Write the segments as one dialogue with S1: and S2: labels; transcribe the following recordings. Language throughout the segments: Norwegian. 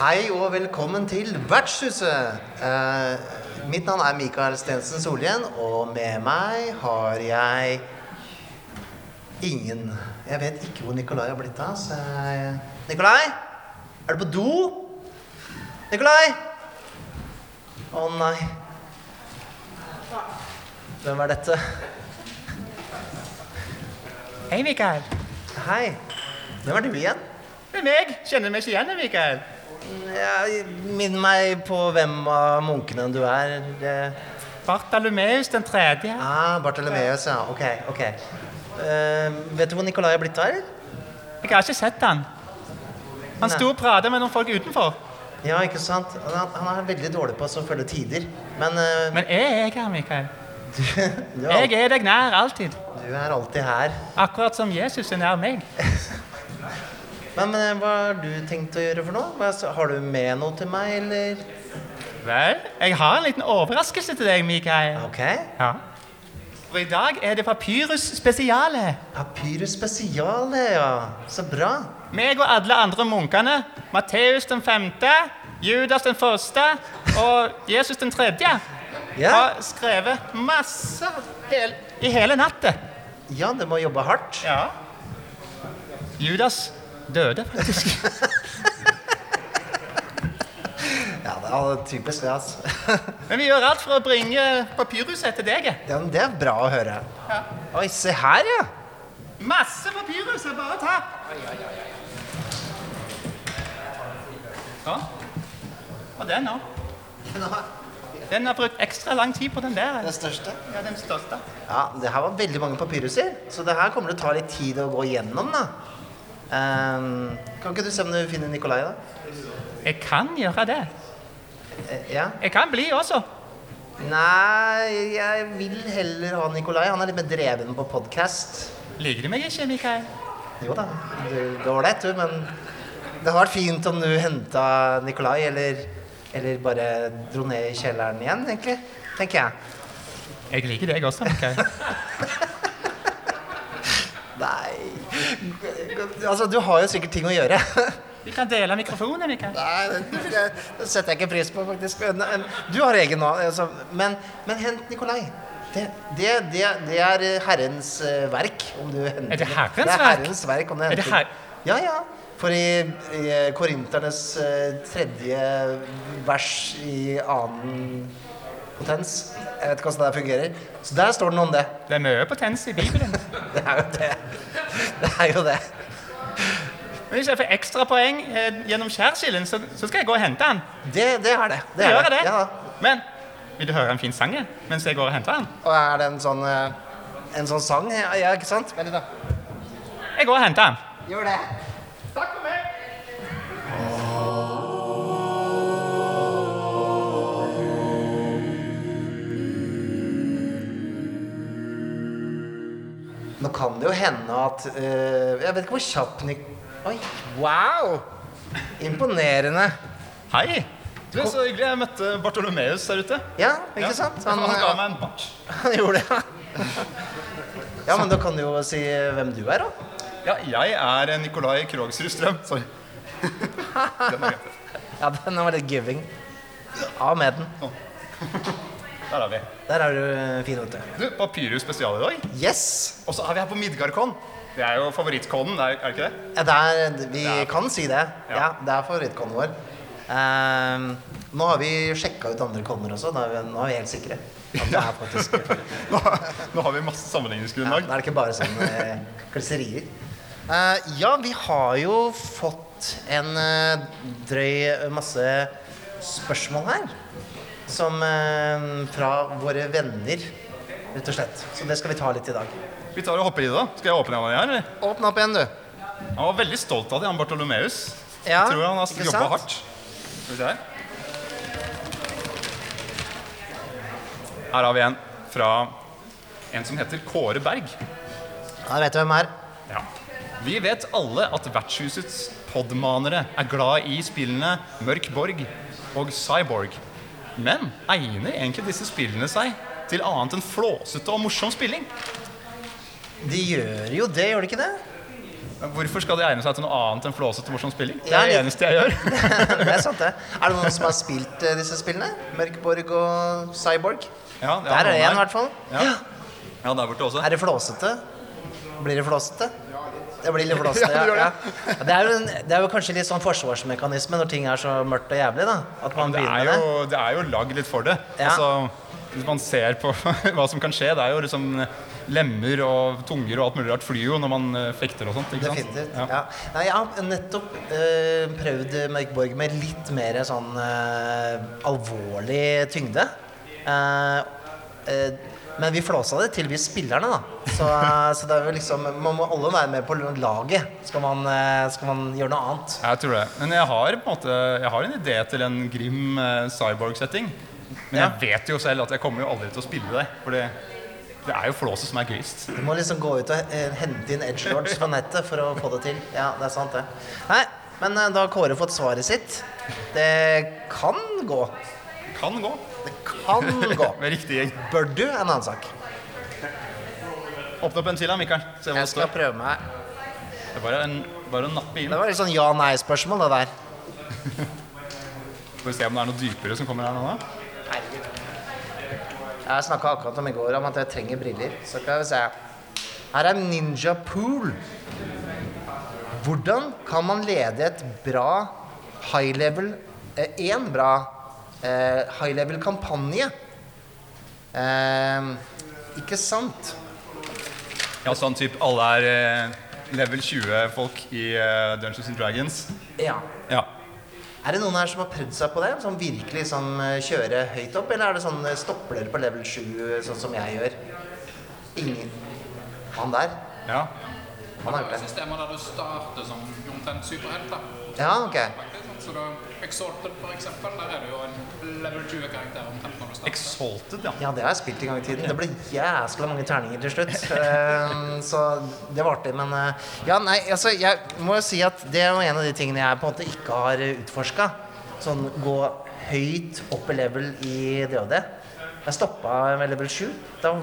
S1: Hei og velkommen til Vertshuset. Eh, mitt navn er Mikael Stensen Solhjell, og med meg har jeg ingen. Jeg vet ikke hvor Nikolai har blitt av, så jeg Nikolai? Er du på do? Nikolai? Å nei. Hvem er dette?
S2: Hei, Mikael.
S1: Hei. Hvem er du igjen?
S2: Det er meg. Kjenner meg ikke igjen, Mikael.
S1: Jeg Minn meg på hvem av munkene du er. Det
S2: Bartalomeus den tredje.
S1: Ah, Bartolomeus, ja. Ok. ok. Eh, vet du hvor Nikolai er blitt av? eller?
S2: Jeg har ikke sett han. Han
S1: Nei.
S2: sto og prata med noen folk utenfor.
S1: Ja, ikke sant? Han, han er veldig dårlig på å følge tider. Men, eh,
S2: Men jeg er her, Mikael.
S1: du, du, er,
S2: Jeg er deg nær alltid.
S1: al- du er alltid her.
S2: Akkurat som Jesus er nær meg.
S1: Men, men eh, hva har du tenkt å gjøre for noe? Hva, s- har du med noe til meg, eller?
S2: Vel, jeg har en liten overraskelse til deg, Mikael.
S1: Ok.
S2: Ja. For i dag er det Papyrus spesiale.
S1: Papyrus spesial, det, ja. Så bra.
S2: Meg og alle andre munkene, Matteus den femte, Judas den første og Jesus den tredje,
S1: Ja.
S2: har skrevet masse hel i hele natta.
S1: Ja, du må jobbe hardt.
S2: Ja. Judas døde faktisk.
S1: Ja, det er typisk det, altså.
S2: Men vi gjør alt for å bringe papyrusset til deg.
S1: Ja, men det er bra å høre.
S2: Ja.
S1: Oi, se her, ja.
S2: Masse papyrus er bare å ta. Sånn. Og den nå.
S1: Den har-
S2: Den har brukt ekstra lang tid på den der.
S1: Den største.
S2: Ja, den største.
S1: Ja, det her var veldig mange papyruser, så det her kommer til å ta litt tid å gå igjennom, da. Ehm, kan ikke du se om du finner Nikolai, da?
S2: Jeg kan gjøre det.
S1: Eh, ja?
S2: Jeg kan bli også.
S1: Nei, jeg vil heller ha Nikolai. Han er litt mer dreven på podkast.
S2: Liker du meg ikke, Mikael?
S1: Jo da, du det var lett, du, men det hadde vært fint om du henta Nikolai, eller, eller bare dro ned i kjelleren igjen, egentlig. Tenker jeg.
S2: Jeg liker deg også, Mikael.
S1: Nei Altså, du har jo sikkert ting å gjøre.
S2: Vi kan dele mikrofonen, Mikael.
S1: Nei, det, det, vil jeg- det setter jeg ikke pris på, faktisk. Men, men, du har egen nå. Altså, men, men hent Nikolai. Det, det, det, det er eh, Herrens eh, verk. Om du henter,
S2: Er det Herrens
S1: det er
S2: verk?
S1: herrens verk om du
S2: Er det
S1: henter.
S2: her-
S1: Ja, ja. For i, i eh, Korinternes eh, tredje vers i annen potens Jeg vet ikke hvordan det der fungerer. Så der står det noe om det.
S2: Det er mye potens i Bibelen.
S1: Det er jo det. Det er jo det.
S2: Men hvis jeg får ekstra poeng eh, gjennom skjærsilden, så, så skal jeg gå og hente han.
S1: Det, det er det.
S2: Det gjør jeg det.
S1: Ja.
S2: Men vil du høre en fin sang jeg, mens jeg går og henter han?
S1: Og er det en sånn, eh, en sånn sang? Ja, ja, ikke sant? Vent litt, da.
S2: Jeg går og henter han.
S1: Gjør det. Nå kan det jo hende at eh, Jeg vet ikke hvor kjapp Nik... Oi, wow! Imponerende.
S2: Hei! Du er så hyggelig. Jeg møtte Bartolomeus der ute.
S1: Ja, ikke sant?
S2: Han, ga meg en bart.
S1: han gjorde det. Ja, men da kan du jo si hvem du er, da.
S2: Ja, jeg er Nikolai Krogsrud Strøm. Sorry. Den er greit.
S1: Ja, den var litt giving. Av med den.
S2: Der er vi.
S1: Der er du eh, fin, vet du.
S2: Du, Papyrus spesial i dag.
S1: Yes!
S2: Og så er vi her på Midgardkon. Det er jo favorittkonen, er er det ikke det?
S1: Ja, det er, vi
S2: Det er-
S1: kan si det. Ja,
S2: Ja.
S1: Det er favorittkonen vår. Ehm, nå har vi sjekka ut andre konner også. Da er vi, nå er vi helt sikre. At det er faktisk
S2: Nå, nå har vi masse
S1: ja,
S2: sammenligningsgrunnlag.
S1: Da er det ikke bare sånne eh, klisserier. Eh, ja, vi har jo fått en eh, drøy masse spørsmål her. Som eh, fra våre venner, rett og slett. Så det skal vi ta litt i dag.
S2: Vi tar og hopper i det, da. Skal jeg åpne den her, eller?
S1: Åpne opp igjen, du.
S2: Han var veldig stolt av det, han Bartolomeus.
S1: Ja,
S2: jeg tror han har
S1: ikke
S2: jobba
S1: sant?
S2: hardt. Skal vi se her. Her har vi en fra en som heter Kåre Berg.
S1: Da vet du hvem er.
S2: Ja. Vi vet alle at vertshusets podmanere er glad i spillene Mørk Borg og Cyborg. Men egner egentlig disse spillene seg til annet enn flåsete og morsom spilling?
S1: De gjør jo det, gjør de ikke det?
S2: Hvorfor skal de egne seg til noe annet enn flåsete og morsom spilling? Det
S1: Ja,
S2: er det
S1: litt.
S2: eneste jeg gjør.
S1: det er sant, det. Er det noen som har spilt eh, disse spillene? Mørkborg og Cyborg?
S2: Ja, det
S1: Der er det
S2: noen
S1: én, i hvert fall.
S2: Ja. ja, der borte også.
S1: Er det flåsete? Blir det flåsete? Det blir litt flåsete,
S2: Ja, det gjør
S1: ja. ja. Det, er jo en, det er jo kanskje litt sånn forsvarsmekanisme når ting er så mørkt og jævlig, da. At man
S2: Det er
S1: begynner
S2: jo,
S1: med det.
S2: det er jo lagd litt for det.
S1: Ja.
S2: Altså, hvis man ser på hva som kan skje, det er jo liksom lemmer og tunger og alt mulig rart flyr jo når man eh, fekter og sånt. ikke sant?
S1: Definitivt.
S2: Ja.
S1: Ja. Nei, jeg har nettopp eh, prøvd Mørkborg med litt mer sånn eh, alvorlig tyngde. Eh, eh, men vi flåsa det til vi spillerne, da. Så, eh, så det er jo liksom Man må alle være med på laget. Skal man, eh, skal man gjøre noe annet.
S2: Jeg tror det. Men jeg har, på en måte, jeg har en idé til en grim eh, cyborg-setting. Men jeg vet jo selv at jeg kommer jo aldri til å spille det. For det, det er jo flåset som er gøyest.
S1: Du må liksom gå ut og eh, hente inn edgelords på nettet for å få det til. Ja, det er sant, det. Nei, men eh, da har Kåre fått svaret sitt. Det kan gå.
S2: Kan gå
S1: Det kan gå.
S2: med riktig gjeng.
S1: Bør du? En annen sak.
S2: Åpne opp en til, da, Mikael. Se hva
S1: Jeg
S2: det
S1: skal
S2: står.
S1: prøve meg.
S2: Det er bare, en, bare å nappe inn.
S1: Det var litt sånn ja-nei-spørsmål, det der.
S2: Får vi se om det er noe dypere som kommer her nå. da.
S1: Jeg snakka akkurat om i går om at jeg trenger briller. Så skal vi se. Her er Ninja Pool. Hvordan kan man lede et bra high level Én bra eh, high level kampanje? Eh, ikke sant?
S2: Ja, sånn typ alle er eh, level 20-folk i eh, Dungeons and Dragons.
S1: Ja.
S2: Ja.
S1: Er det noen her som har prøvd seg på det? Som virkelig sånn, eh, kjører høyt opp? Eller er det sånn eh, stopper dere på level 7, eh, sånn som jeg gjør? Ingen. Han der?
S2: ja.
S1: Han har
S3: Det er
S1: gjort det.
S3: systemer der du starter som omtrent superhelt. da.
S1: Ja, ok.
S3: Faktisk, sant? Så da, Exalted, for eksempel, der er det jo en level 20-karakter omtrent når du starter.
S2: Exalted, ja.
S1: Ja, det har jeg spilt en gang i tiden. Det ble jæskla mange terninger til slutt. Ehm, så det var artig, men eh, Ja, nei, altså, jeg må jo si at det er jo en av de tingene jeg på en måte ikke har utforska. Sånn gå høyt opp i level i DOD. Jeg stoppa ved level 7. Da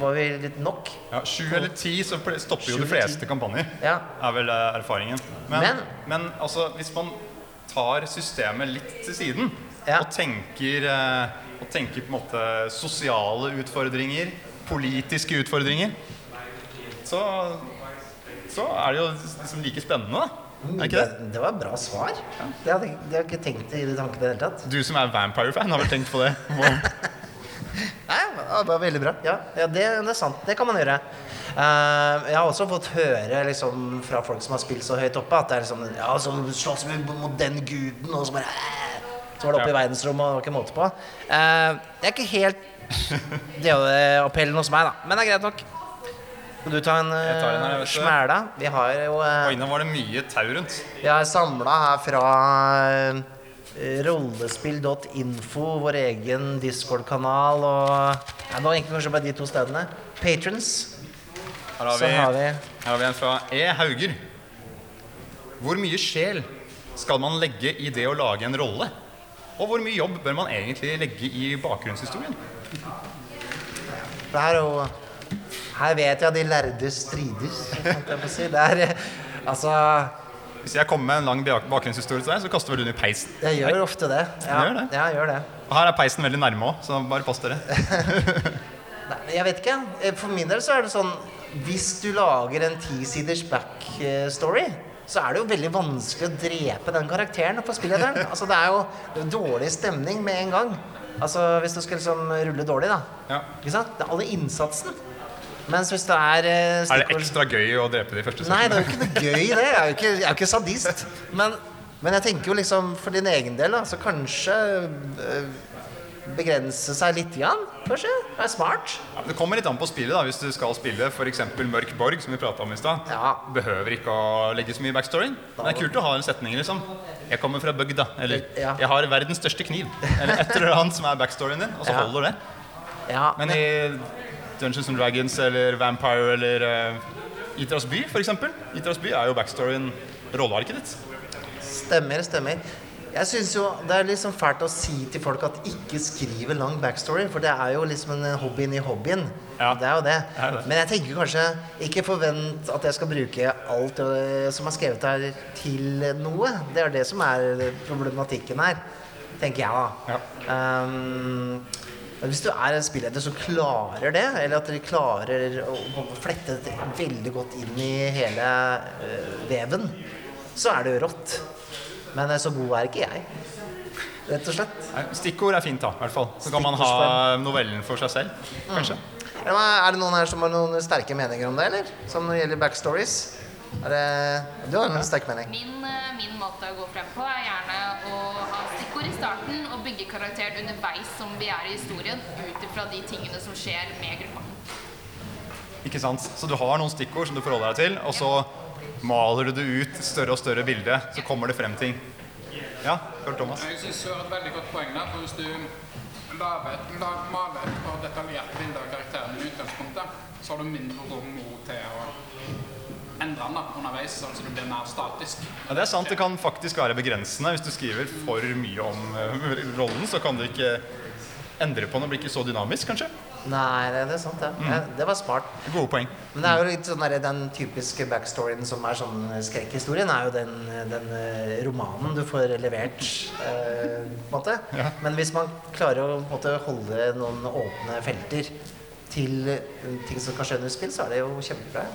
S1: var vi litt nok.
S2: ja. Sju eller ti, så ple- stopper jo
S1: Sju
S2: de
S1: eller ti.
S2: fleste kampanjer.
S1: Ja.
S2: er vel eh, erfaringen. Men,
S1: Men-
S2: men altså, hvis man tar systemet litt til siden
S1: Ja.
S2: og, tenker, eh, og tenker på en måte sosiale utfordringer, politiske utfordringer, så, så er det jo liksom like spennende, da. Er ikke det?
S1: Det, det var bra svar. Det hadde jeg- det har jeg ikke tenkt i de tankene i det hele tatt.
S2: Du som er vampire-fan, har vel tenkt på det? Hvor-
S1: Nei, ja, det var veldig bra. Ja, ja det, det er sant. Det kan man gjøre. Eh, jeg har også fått høre liksom, fra folk som har spilt så høyt oppe, at det er liksom Ja, så slåss vi mot den guden, og så bare eh, Så var det oppe i
S2: Ja.
S1: verdensrommet, og det var ikke måte på. Eh, det er ikke helt det eh, appellen hos meg, da. Men det er greit nok. Skal du ta en,
S2: Jeg tar en her,
S1: uh,
S2: vet du.
S1: smæla? Vi har jo eh,
S2: Oi, nå var det mye tau rundt.
S1: vi har samla her fra eh, rollespill.info, vår egen Discord-kanal og Nei, Det var egentlig kanskje bare de to stedene. Patrons.
S2: Her har
S1: Så
S2: vi,
S1: har vi
S2: her har vi en fra E. Hauger. Hvor mye sjel skal man legge i det å lage en rolle? Og hvor mye jobb bør man egentlig legge i bakgrunnshistorien?
S1: Det her er jo Her vet jeg at de lærde strides, holdt jeg på å si. Det er eh, Altså,
S2: Hvis jeg kommer med en lang bak- bakgrunnshistorie til deg, så kaster vel du den i peisen.
S1: jeg gjør ofte det. Ja,
S2: Gjør det?
S1: Ja, jeg gjør det.
S2: Og her er peisen veldig nærme òg, så bare pass dere.
S1: Nei, men jeg vet ikke. Eh, For min del så er det sånn Hvis du lager en tisiders backstory, så er det jo veldig vanskelig å drepe den karakteren på spillederen. Altså, det er jo dårlig stemning med en gang. Altså, hvis du skal liksom rulle dårlig, da.
S2: Ja.
S1: Ikke sant? Det er alle innsatsen. Mens hvis det er eh,
S2: Er det
S1: stikkord-
S2: ekstra gøy å drepe de første
S1: Nei, det er
S2: sesjonene?
S1: jo ikke noe gøy, det. Jeg er jo ikke, jeg er jo ikke sadist. Men, men jeg tenker jo liksom for din egen del, da, så kanskje øh, begrense seg litt grann, kanskje. Være smart.
S2: Ja, Det kommer litt an på spillet. da, Hvis du skal spille f.eks. Mørk borg, som vi pratet om i stad,
S1: Ja.
S2: behøver ikke å legge så mye backstory. Men det er kult å ha en setning liksom. 'Jeg kommer fra bygda', eller
S1: Ja.
S2: 'Jeg har verdens største kniv', eller et eller annet som er backstoryen din, og så
S1: Ja.
S2: holder det.
S1: Ja,
S2: Men i Dungeons and Dragons eller Vampire eller eh, Itras by, f.eks. Itras by er jo backstoryen rollearket ditt.
S1: Stemmer, stemmer. Jeg synes jo Det er liksom fælt å si til folk at ikke skriver lang backstory, for det er jo liksom en hobby inni hobbyen.
S2: Ja.
S1: Det er jo det.
S2: Det er det.
S1: Men jeg tenker kanskje Ikke forvent at jeg skal bruke alt øh, som er skrevet her, til noe. Det er det som er problematikken her, tenker jeg, da. Ehm, men hvis du er en spilleder som klarer det, eller at dere klarer å på en måte flette dette veldig godt inn i hele øh, veven, så er det jo rått. Men øh, så god er ikke jeg. Rett og slett.
S2: Nei, Stikkord er fint, da. i hvert fall. Så kan man ha novellen for seg selv,
S1: Mm.
S2: kanskje.
S1: Er det, er det noen her som har noen sterke meninger om det, eller? Som når det gjelder backstories? Er det, du har en sterk mening.
S4: Min, eh, min måte å gå frem på er gjerne å ha stikkord i starten og bygge karakteren underveis som vi er i historien, ut ifra de tingene som skjer med gruppa.
S2: Ikke sant? Så du har noen stikkord som du forholder deg til, og så maler du det ut større og større bilde. Så kommer det frem ting. Ja, hør Thomas.
S3: Jeg synes du har et veldig godt poeng der. for Hvis du lager et, la, maler et og detaljert bilde av karakteren i utgangspunktet, så har du mindre rom nå til å endre den da, underveis, sånn at du blir mer statisk.
S2: Ja, det er sant. Det kan faktisk være begrensende. Hvis du skriver for mye om eh, rollen, så kan du ikke endre på den og bli ikke så dynamisk, kanskje.
S1: Nei, det, det er sant, det. Ja, det var smart.
S2: Gode poeng.
S1: Men det er jo litt sånn der, den typiske backstoryen som er sånn skrekkhistorien, er jo den, den eh, romanen du får levert. Eh, på en måte. Men hvis man klarer å på en måte, holde noen åpne felter til eh, ting som kan skje under spill, så er det jo kjempebra.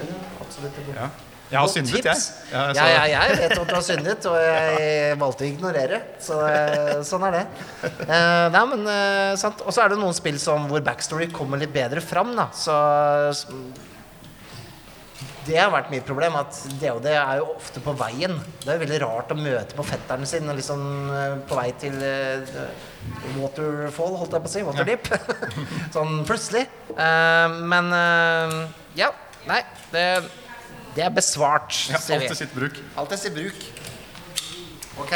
S1: Ja, det er absolutt et godt.
S2: Ja. Jeg har
S1: Godt
S2: syndet, jeg.
S1: tips.
S2: Ja,
S1: Ja,
S2: så-
S1: ja, jeg vet at du har syndet, og jeg valgte å ignorere. Så eh, sånn er det. Eh, nei, men eh, sant. Og så er det noen spill som, hvor backstory kommer litt bedre fram, da. Så s- det har vært mitt problem, at DOD er jo ofte på veien. Det er jo veldig rart å møte på fetteren sin og liksom eh, på vei til eh, Waterfall, holdt jeg på å si. Waterdeep. sånn plutselig. Eh, men eh, ja. Nei, det, det er besvart,
S2: Ja,
S1: sier
S2: alt til
S1: vi.
S2: sitt bruk.
S1: Alt er i bruk. Ok.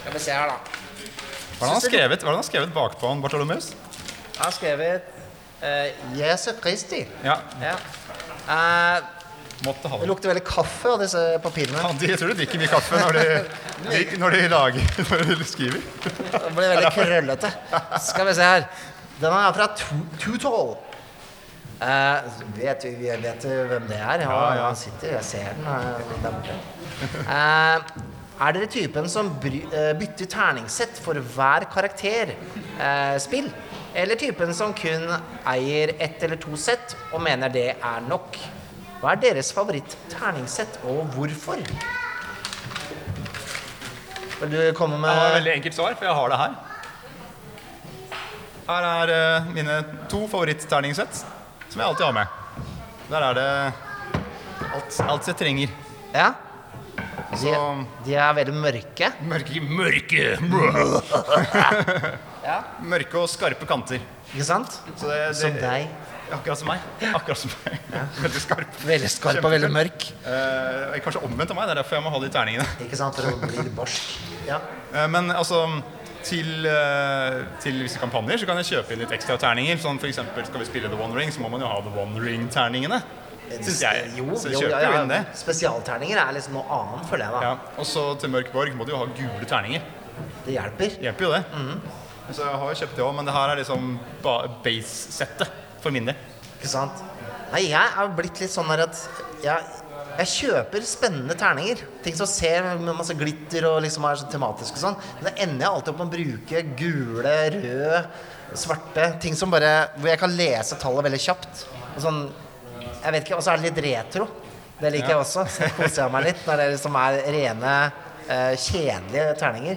S1: Skal vi se her, da.
S2: Hva har han skrevet, hva har han skrevet bakpå, han, Bartolomeus?
S1: Jeg har skrevet eh, Jesu Kristi.
S2: Ja,
S1: Ja. Eh,
S2: måtte ha
S1: det
S2: det.
S1: lukter veldig kaffe av disse papirene.
S2: Ja, de, jeg tror de drikker mye kaffe når de, de, når de lager Når de skriver.
S1: Det ble veldig krøllete. Skal vi se her. Den er fra Too Too Tall. Eh, vet vi vi vet jo hvem det er? Ja,
S2: Ja, ja.
S1: Han sitter, jeg ser den eh, der borte. Eh, er dere typen som bry, eh, bytter terningsett for hver karakter eh, spill? Eller typen som kun eier ett eller to sett og mener det er nok? Hva er deres favoritt-terningsett, og hvorfor? Vil du komme med
S2: Jeg har et veldig enkelt svar, for jeg har det her. Her er eh, mine to favorittterningssett, som jeg alltid har med. Der er det alt, alt jeg trenger.
S1: Ja. De,
S2: Så-
S1: de er veldig mørke.
S2: Mørke, mørke
S1: Ja.
S2: Mørke og skarpe kanter.
S1: Ikke sant?
S2: Så det,
S1: Som
S2: det,
S1: deg.
S2: akkurat som meg. Akkurat som meg. Veldig skarp.
S1: Veldig skarp og veldig mørk.
S2: Eh, kanskje omvendt av meg, det er derfor jeg må ha de terningene.
S1: Ikke sant? For å bli litt barsk. Ja.
S2: Eh, Men altså til, eh, til visse kampanjer så kan jeg kjøpe inn litt ekstra terninger. Sånn for eksempel skal vi spille The One Ring, så må man jo ha The One Ring-terningene. Syns jeg.
S1: Eh, Jo,
S2: Så jeg
S1: jo, ja,
S2: kjøper jo
S1: ja.
S2: inn det.
S1: Spesialterninger er liksom noe annet, føler jeg.
S2: Ja, og så til Mørk Borg må du jo ha gule
S1: da.
S2: terninger.
S1: Det hjelper.
S2: Det hjelper jo det.
S1: Mhm.
S2: Så jeg har jo kjøpt det òg, men det her er liksom ba- base-settet for min del.
S1: Ikke sant? Nei, jeg er blitt litt sånn der at jeg, jeg kjøper spennende terninger. Ting som ser med masse glitter og liksom er så tematisk og sånn. Men da ender jeg alltid opp med å bruke gule, røde, svarte Ting som bare Hvor jeg kan lese tallet veldig kjapt. Og sånn Jeg vet ikke. Og så er det litt retro. Det liker jeg også. Så koser jeg meg litt når det liksom er rene, eh, kjedelige terninger.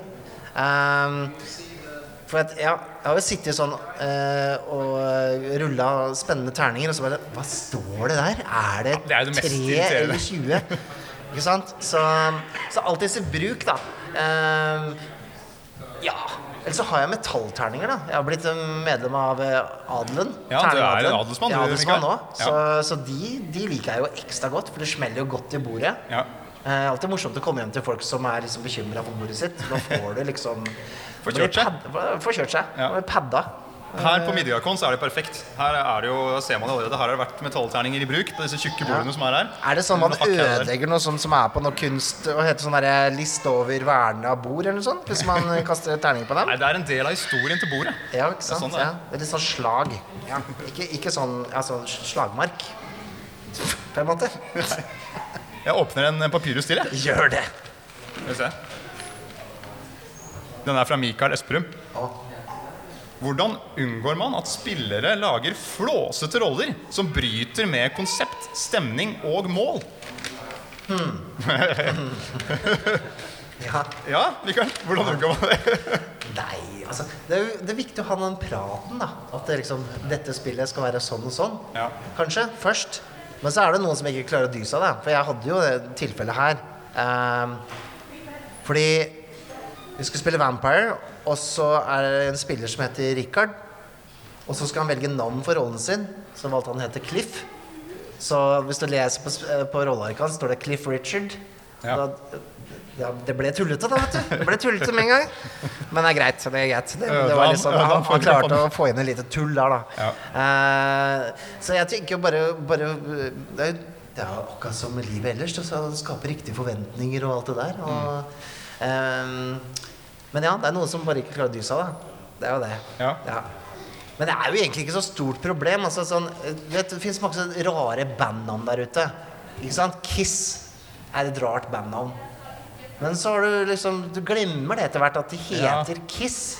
S1: Ehm, for at, ja, jeg har jo sittet sånn eh, og rulla spennende terninger, og så bare Hva står det der? Er det,
S2: det er jo det mest
S1: tre
S2: irriterende.
S1: eller 20? Ikke sant? Så, så alltid i bruk, da. Eh, ja. Eller så har jeg metallterninger, da. Jeg har blitt eh, medlem av eh, adelen.
S2: Ja, du er
S1: Terningadelen.
S2: en adelsmann,
S1: Jeg er
S2: du,
S1: adelsmann
S2: Mikael.
S1: også, Så, så de, de liker jeg jo ekstra godt, for det smeller jo godt i bordet.
S2: Ja.
S1: Eh, alltid morsomt å komme hjem til folk som er liksom bekymra for bordet sitt. Da får du liksom
S2: Forkjørt seg.
S1: Blir pad- Forkjørt seg.
S2: Ja.
S1: Blir Padda.
S2: Her på Midgardcon så er det perfekt. Her er det jo, ser man det allerede, her har det vært metallterninger i bruk på disse tjukke bordene som er her.
S1: Er det sånn man
S2: Med hakkeller.
S1: ødelegger noe sånt som er på noe kunst og heter sånn derre liste over verna bord eller noe sånt? Hvis man kaster terninger på dem?
S2: Nei, det er en del av historien til bordet.
S1: Ja, ikke sant?
S2: sånn det er.
S1: ja. Det er litt sånn slag. Ja. Ikke, ikke sånn altså, slagmark, på en måte.
S2: Jeg åpner en papyrus til, jeg.
S1: Gjør det.
S2: Skal vi se. Den er fra Mikael Esperum. Hvordan unngår man at spillere lager flåsete roller som bryter med konsept, stemning og mål?
S1: Ja.
S2: Ja, Mikael, hvordan unngår man det?
S1: Nei, altså det er, jo, det er viktig å ha den praten, da. At det liksom, dette spillet skal være sånn og sånn.
S2: Ja.
S1: Kanskje. Først. Men så er det noen som ikke klarer å dy seg, da. For jeg hadde jo det tilfellet her. Ehm, fordi vi skulle spille Vampire, og så er det en spiller som heter Richard. Og så skal han velge navn for rollen sin, så valgte han å hete Cliff. Så hvis du leser på, sp- eh, på rollearket hans, står det Cliff Richard.
S2: Ja.
S1: Da, ja, det ble tullete, da, vet du. Det ble tullete med en gang. Men det er greit. Det er greit. Det, det var liksom, han, han klarte å få inn et lite tull der, da.
S2: Ja.
S1: Eh, så jeg tenker jo bare, bare Det er jo det er jo akkurat som med livet ellers. altså. Det skal skape riktige forventninger og alt det der.
S2: Mm.
S1: Og, eh, men ja, det er noen som bare ikke klarer å dy seg, da. Det er jo det.
S2: Ja.
S1: Men det er jo egentlig ikke så stort problem. Altså, sånn, eh, du vet, det fins masse rare bandnavn der ute. Ikke sant? Kiss er et rart bandnavn. Men så har du liksom Du glemmer det etter hvert, at de
S2: Ja.
S1: heter Kiss.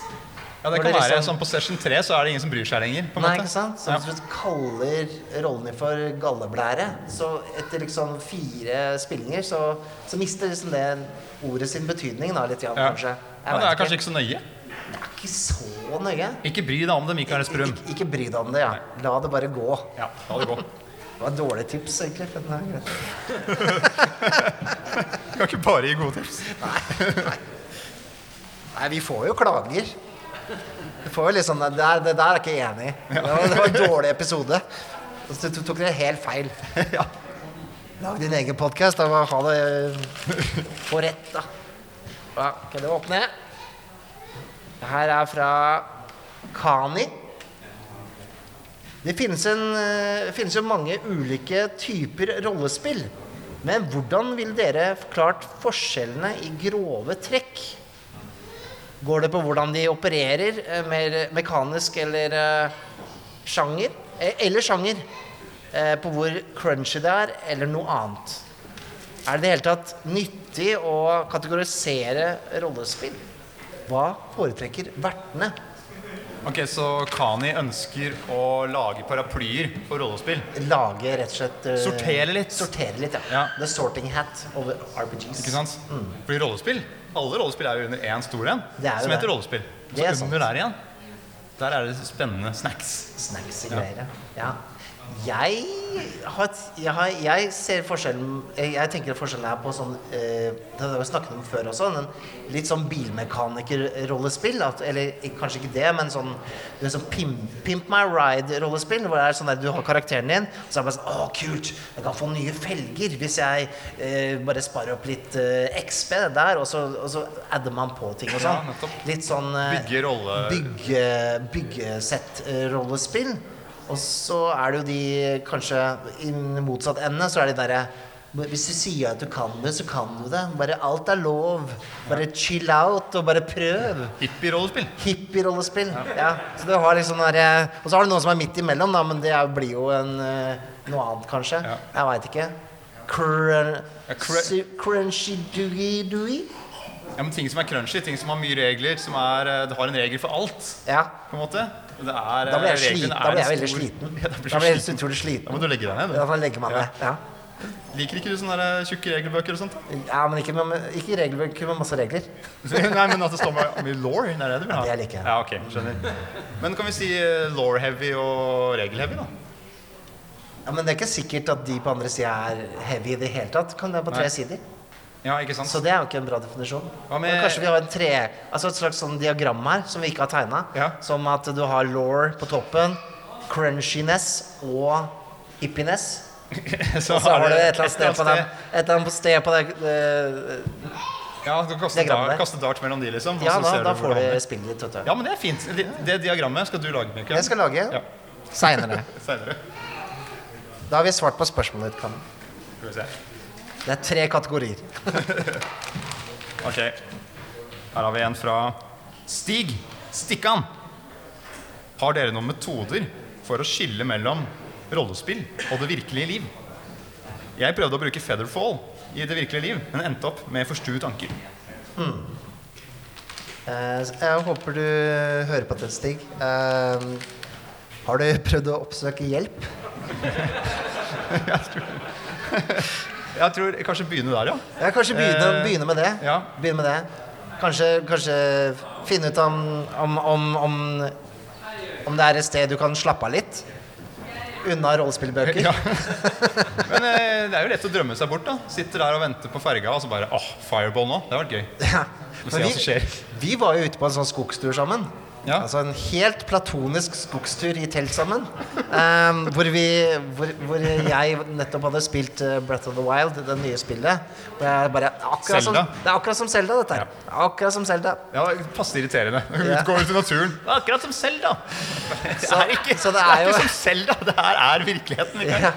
S2: Ja, det
S1: Når
S2: kan
S1: det
S2: være
S1: liksom-
S2: sånn på Session 3 så er det ingen som bryr seg lenger. på en
S1: Nei,
S2: måte.
S1: ikke sant? Så
S2: Ja.
S1: hvis du kaller rollen din for galleblære, så etter liksom fire spillinger, så, så mister liksom det ordet sin betydning da, litt, grann,
S2: Ja.
S1: kanskje.
S2: Ja, det er kanskje ikke så nøye.
S1: Det er ikke så nøye.
S2: Ikke bry deg om det, Mikael Esperum.
S1: Ik ikke bry deg om det, ja. La det bare gå.
S2: Ja, la det gå.
S1: Det var et dårlig tips, egentlig. men det er greit.
S2: Du kan ikke bare gi gode tips.
S1: Nei, vi får jo klager. Vi får jo liksom, det, der, det der er jeg ikke enig i. Det var, det var en dårlig episode. Så du tok det helt feil.
S2: Ja.
S1: Lag din egen podkast og ha det eh, på rett, da. Ja, kan du åpne? Det her er fra Kani. Det finnes, en, eh, finnes jo mange ulike typer rollespill. Men hvordan ville dere forklart forskjellene i grove trekk? Går det på hvordan de opererer, eh, mer mekanisk eller eh, sjanger? Eh, Eller sjanger. Eh, På hvor crunchy det er, eller noe annet. Er det i det hele tatt nyttig å kategorisere rollespill? Hva foretrekker vertene?
S2: Ok, Så Kani ønsker å lage paraplyer for rollespill.
S1: Lage rett og slett eh,
S2: Sortere litt.
S1: Sortere litt, ja.
S2: Ja.
S1: The sorting hat over RPGs.
S2: Ikke sant? Fordi rollespill Alle rollespill er jo under én stor en,
S1: Mm. Det er jo
S2: som
S1: det.
S2: heter rollespill. Så
S1: Det er
S2: under
S1: sant.
S2: der igjen, der er det spennende snacks.
S1: Snacks og greier, ja. ja. Jeg, har, et- jeg, har, jeg ser forskjellen Jeg jeg tenker forskjellen er på sånn eh, Det har vi snakket om før også, men litt sånn bilmekanikerrollespill. at- Eller eh, kanskje ikke det, men sånn, det er sånn pimp, pimp my ride-rollespill. Hvor det er sånn der du har karakteren din, så er det bare sånn Å, kult! Jeg kan få nye felger hvis jeg eh, bare sparer opp litt eh, XP der, og så, og så adder man på ting og
S2: Ja,
S1: sånn.
S2: nettopp.
S1: Litt sånn eh,
S2: Bygge rolle-
S1: bygge, byggesett-rollespill. Og så er det jo de kanskje i motsatt ende, så er de derre Hvis du sier at du kan det, så kan du det. Bare alt er lov. Bare chill out og bare prøv.
S2: Hippie-rollespill.
S1: Hippie-rollespill. Ja. Så du har liksom den derre- Og så har du noen som er midt imellom, da, men det er- blir jo en, eh, noe annet, kanskje.
S2: Ja.
S1: Jeg veit ikke. Crun
S2: Ja, cru-
S1: su- crunchy doogie doogie?
S2: Ja, men Ting som er crunchy, ting som har mye regler, som er, eh, det har en regel for alt.
S1: Ja.
S2: på en måte. Det er, eh,
S1: Da blir jeg,
S2: reglene
S1: sliten.
S2: er
S1: Da blir jeg
S2: en
S1: veldig
S2: stor-
S1: sliten.
S2: Ja,
S1: Da
S2: da blir
S1: blir
S2: du
S1: jeg
S2: sliten.
S1: utrolig
S2: Da
S1: sliten.
S2: må du legge deg ned.
S1: Ja,
S2: Du.
S1: da legger man
S2: Ja.
S1: det. Ja.
S2: Liker ikke du sånne der tjukke regelbøker og sånt? da?
S1: ja, men ikke med, ikke regelverk med masse regler.
S2: Nei, men at det står med, med law, det er det du vil ha?
S1: Ja, det liker jeg.
S2: Ja, ok, skjønner. Men kan vi si eh, law-heavy og regel-heavy, da?
S1: Ja, men det er ikke sikkert at de på andre sida er heavy i det hele tatt. Kan det være på tre
S2: Nei.
S1: sider?
S2: Ja, ikke sant?
S1: Så det er jo ikke en bra definisjon.
S2: Hva med-
S1: Men Kanskje vi har en tre, altså et slags sånn diagram her som vi ikke har tegna.
S2: Ja.
S1: Som at du har law på toppen, crunchiness og hippiness.
S2: Så
S1: Så har du et eller
S2: et
S1: annet sted på, den, et eller annet sted på det, eh,
S2: Ja, du kaster
S1: Diagrammet
S2: dart,
S1: der.
S2: kaster dart mellom de, liksom. og
S1: Ja
S2: så
S1: da,
S2: ser du
S1: da
S2: hvor
S1: får du
S2: havner.
S1: spillet ditt, vet du.
S2: Ja, men det er fint. Det, det diagrammet skal du lage, Mikael.
S1: Jeg skal lage
S2: Ja,
S1: seinere.
S2: senere.
S1: Da har vi svart på spørsmålet ditt, Kam.
S2: Skal vi se.
S1: Det er tre kategorier.
S2: Ok. Her har vi en fra Stig Stikkan. Har dere noen metoder for å skille mellom rollespill og det virkelige liv? Jeg prøvde å bruke Featherfall i det virkelige liv, men endte opp med forstuet anker.
S1: Eh, Jeg håper du hører på dette, Stig. Eh, Har du prøvd å oppsøke hjelp?
S2: Jeg tror jeg kanskje begynne der, ja.
S1: Ja, kanskje begynne,
S2: Eh,
S1: begynne med det.
S2: ja.
S1: Begynne med det. Kanskje, kanskje finne ut om, om, om, om, om det er et sted du kan slappe av litt. Unna rollespillbøker.
S2: Ja. Men eh, det er jo lett å drømme seg bort, da. Sitter der og venter på ferga, og så bare Åh, fireball nå. Det har vært gøy.
S1: Ja.
S2: Vi
S1: Men
S2: får se hva som
S1: vi,
S2: skjer.
S1: vi var jo ute på en sånn skogstur sammen.
S2: Ja.
S1: Altså en helt platonisk skogstur i telt sammen. Ehm, hvor, vi, hvor, hvor jeg nettopp hadde spilt eh, Breath of the Wild, det nye spillet. Hvor jeg bare akkurat som,
S2: Zelda.
S1: Det er akkurat som Selda, dette her. Akkurat som Zelda.
S2: Ja, passe irriterende.
S1: Ja.
S2: Gå ut i naturen. Det er akkurat som Selda. Det
S1: Så-
S2: er ikke,
S1: så det
S2: det
S1: er
S2: er
S1: jo-
S2: ikke som Selda. Det her er virkeligheten. Mikael.
S1: Ja.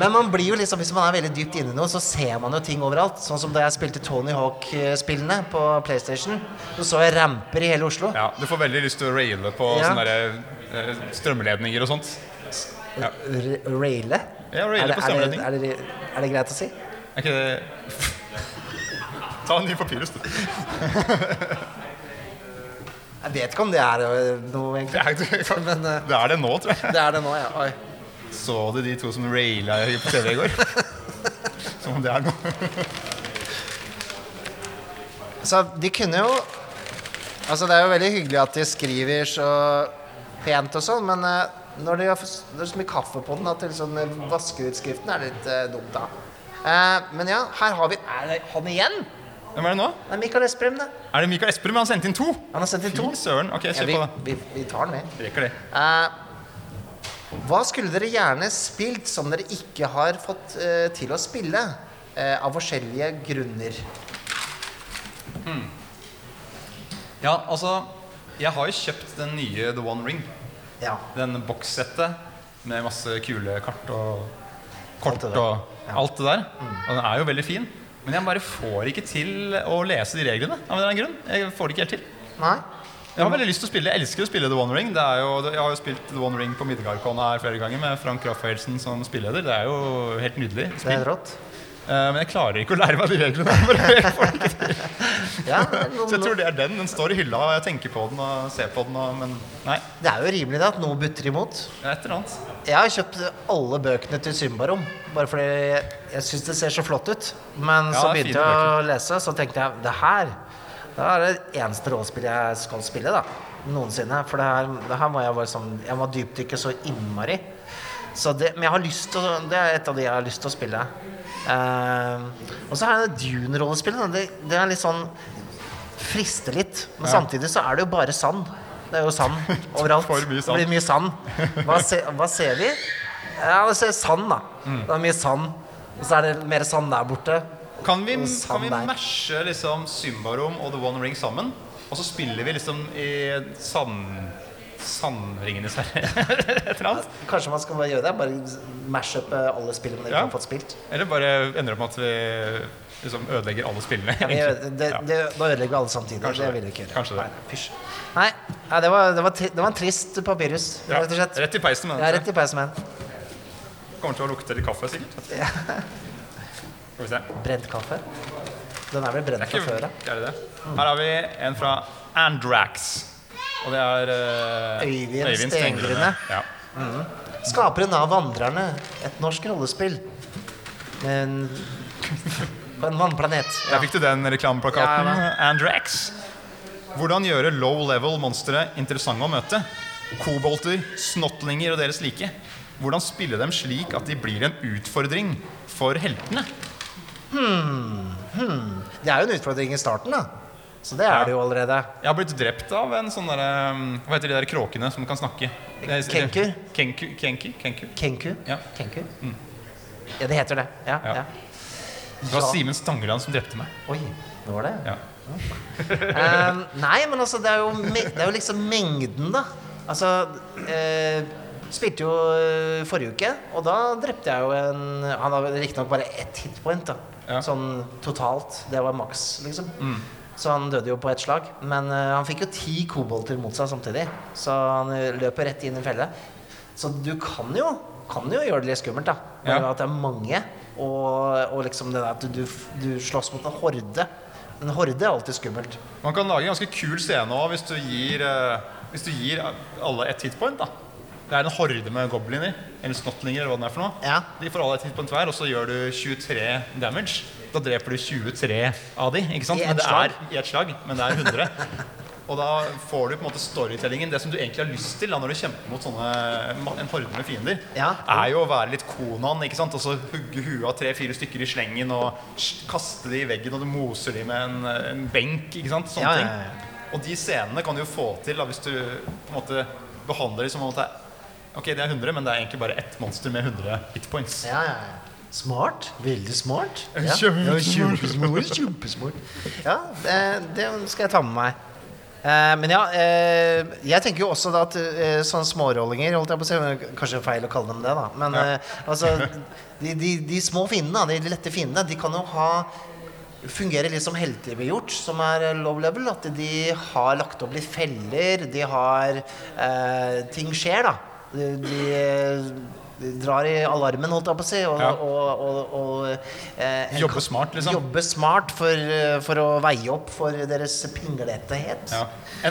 S1: Men man blir jo liksom, hvis man er veldig dypt inne i noe, så ser man jo ting overalt. Sånn som da jeg spilte Tony Hawk-spillene på PlayStation, så så jeg ramper i hele Oslo.
S2: Ja, du får veldig lyst til å raile på
S1: Ja.
S2: sånne der, eh, strømledninger og sånt. Ja.
S1: R- Raile?
S2: Ja, raile
S1: Er det- er det-
S2: på stemmeledning.
S1: Er, det- er det greit å si?
S2: Er ikke det Ta en ny papirus, du.
S1: Jeg vet ikke om det er øh, noe,
S2: Det
S1: egentlig.
S2: er, det
S1: Men øh,
S2: er det nå, tror jeg.
S1: det er det nå, ja. Oi.
S2: Så du de to som raila på TV i går? Som om det er noe.
S1: Så de kunne jo Altså, det er jo veldig hyggelig at de skriver så pent og sånn, men eh, når de har fått- det er så mye kaffe på den at det liksom, eh, vaskeutskriften er litt eh, dumt, da. Eh, men ja, her har vi Er det han igjen? Det
S2: Hvem er det nå?
S1: er Mikael Esperum, det.
S2: Er det Mikael Esperum? Han sendte inn to.
S1: Han har sendt inn to.
S2: Fy søren. Ok,
S1: Ja,
S2: kjør
S1: vi,
S2: på, da.
S1: vi, vi tar den, vi.
S2: Rekker det.
S1: Eh, hva skulle dere gjerne spilt som dere ikke har fått eh, til å spille? eh, av forskjellige grunner.
S2: Ja, altså Jeg har jo kjøpt den nye The One Ring.
S1: Ja.
S2: Den bokssettet med masse kule kart og kort
S1: Alt det der.
S2: og
S1: Ja. Mm.
S2: alt det der. Og den er jo veldig fin. Men jeg bare får ikke til å lese de reglene. av en eller annen grunn. Jeg får det ikke helt til.
S1: Nei?
S2: Jeg
S1: Mm.
S2: har veldig lyst til å spille, jeg elsker å spille The One Ring. Det er jo, jeg har jo spilt The One Ring på Midgardcon her flere ganger med Frank Raffaelsen som spilleder. Det er jo helt nydelig.
S1: Det
S2: Spill.
S1: er rått.
S2: Eh, Men jeg klarer ikke å lære meg de reglene. Jeg bare- jeg får det ikke til.
S1: Ja, det er
S2: Så jeg
S1: noen,
S2: tror det er den. Den står i hylla, og jeg tenker på den og ser på den, og, men nei.
S1: Det er jo rimelig da, at noe butter imot.
S2: Det er et eller annet.
S1: Jeg har kjøpt alle bøkene til Symbarom, bare fordi jeg, jeg syns det ser så flott ut. Men
S2: Ja,
S1: så
S2: det er
S1: begynte jeg
S2: fine
S1: å
S2: bøker.
S1: lese, så tenkte jeg det her det er det eneste rollespillet jeg skal spille da, noensinne. For det her, det her var jeg bare sånn Jeg var dypdykke så innmari. Så det, men jeg har lyst til å, det er et av de jeg har lyst til å spille. Eh, og så er det Dune-rollespillet. da. Det, det er litt sånn frister litt. Men samtidig så er det jo bare sand. Det er jo sand overalt.
S2: For mye sand.
S1: Det blir mye sand. Hva, se, hva ser vi? Ja, vi ser sand, da.
S2: Mm.
S1: Det er mye sand. Og så er det mer sand der borte.
S2: Kan vi, kan
S1: Sand
S2: vi
S1: der.
S2: mashe liksom Symbarom og The One Ring sammen? Og så spiller vi liksom i sand... Sandringenes herre? Et eller annet?
S1: Kanskje man skal bare gjøre det? Bare mash up eh, alle spillene man ikke
S2: Ja.
S1: har fått spilt?
S2: Eller bare ender opp med at vi liksom ødelegger alle spillene.
S1: Vi
S2: egentlig.
S1: gjør- det,
S2: Ja.
S1: det, da ødelegger vi alle samtidig.
S2: Kanskje
S1: det
S2: det.
S1: vil vi ikke gjøre.
S2: Kanskje det.
S1: Nei, fysj. Nei, ja, det, var, det, var tri, det var en trist papirus,
S2: Ja,
S1: rett og slett.
S2: Rett i peisen med
S1: Jeg er
S2: den.
S1: rett i peisen med en
S2: Kommer til å lukte litt kaffe, sikkert. Skal vi se. Det
S1: brent kaffe. Den er vel brent
S2: er
S1: fra
S2: ikke
S1: før av.
S2: er det det? Her har vi en fra Andrax. Og det er eh,
S1: Øyvind Stengrunne.
S2: Ja.
S1: Skaperen av 'Vandrerne', et norsk rollespill. Men på en vannplanet.
S2: Der fikk du den reklameplakaten. Andrax. Hvordan gjøre low level monstre interessante å møte? Kobolter, snottlinger og deres like. Hvordan spille dem slik at de blir en utfordring for heltene?
S1: Det er jo en utfordring i starten, da. Så det er det jo allerede.
S2: Jeg har blitt drept av en sånn derre um, Hva heter de der kråkene som kan snakke? Det er-
S1: Kenku?
S2: Kenku, Kenku, Kenku.
S1: Kenku.
S2: Ja. Mm.
S1: Kenku. Ja, det heter det. Ja,
S2: Ja.
S1: ja.
S2: Det var
S1: Ja.
S2: Simen Stangeland som drepte meg.
S1: Oi. Det var det?
S2: Ja.
S1: Ehm, nei, men altså, det er jo, me det er jo liksom mengden, da. Altså eh, Spilte jo eh, forrige uke, og da drepte jeg jo en Han har riktignok bare ett hitpoint, da.
S2: Ja. Mm.
S1: Sånn totalt. Det var maks, liksom. Så han døde jo på ett slag. Men eh, han fikk jo ti kobolter mot seg samtidig, så han eh, løper rett inn i en felle. Så du kan jo, kan jo gjøre det litt skummelt, da. Bare
S2: Ja.
S1: ved at det er mange, og, og liksom det der at du, du, du slåss mot en horde. En horde er alltid skummelt.
S2: Man kan lage en ganske kul scene òg hvis, du gir, eh, hvis du gir alle ett hitpoint. da. Det er en horde med gobliner, eller snottlinger, eller hva den er for noe.
S1: Ja.
S2: De får alle ett hitpoint hver, og så gjør du 23 damage. Da dreper du 23 av de, ikke sant?
S1: I ett
S2: Men det
S1: slag.
S2: er, I ett slag. Men det er 100. og da får du på en måte storytellingen. Det som du egentlig har lyst til da, når du kjemper mot sånne, en horde med fiender,
S1: Ja.
S2: er jo å være litt Konan, ikke sant? Og så hugge huet av tre-fire stykker i slengen og sj- kaste de i veggen, og du moser de med en, en benk, ikke sant? Sånne
S1: Ja, ja, ja.
S2: ting. Og de scenene kan du jo få til da, hvis du på en måte behandler dem som om at det er Ok, det er 100, men det er egentlig bare ett monster med 100 hitpoints.
S1: Ja, ja, ja. Smart. Veldig smart. Ja.
S2: Kjempesmart.
S1: Kjempesmart. Kjempesmart. Ja, eh, det skal jeg ta med meg. Eh, Men ja, eh, jeg tenker jo også da at eh, sånne smårollinger holdt jeg på å si, men Kanskje feil å kalle dem det, da. Men
S2: Ja.
S1: eh, altså de, de, de små fiendene, da, de lette fiendene, de kan jo ha fungerer litt som heltebegjort, som er eh, low level. At de har lagt opp litt feller, de har eh, Ting skjer, da. De, de, eh, de drar i alarmen, holdt jeg på å si. Og,
S2: Ja.
S1: og, og, og eh, en
S2: Jobbe
S1: kan-
S2: smart, liksom.
S1: Jobbe smart for, eh, for å veie opp for deres pingletehet.
S2: Ja.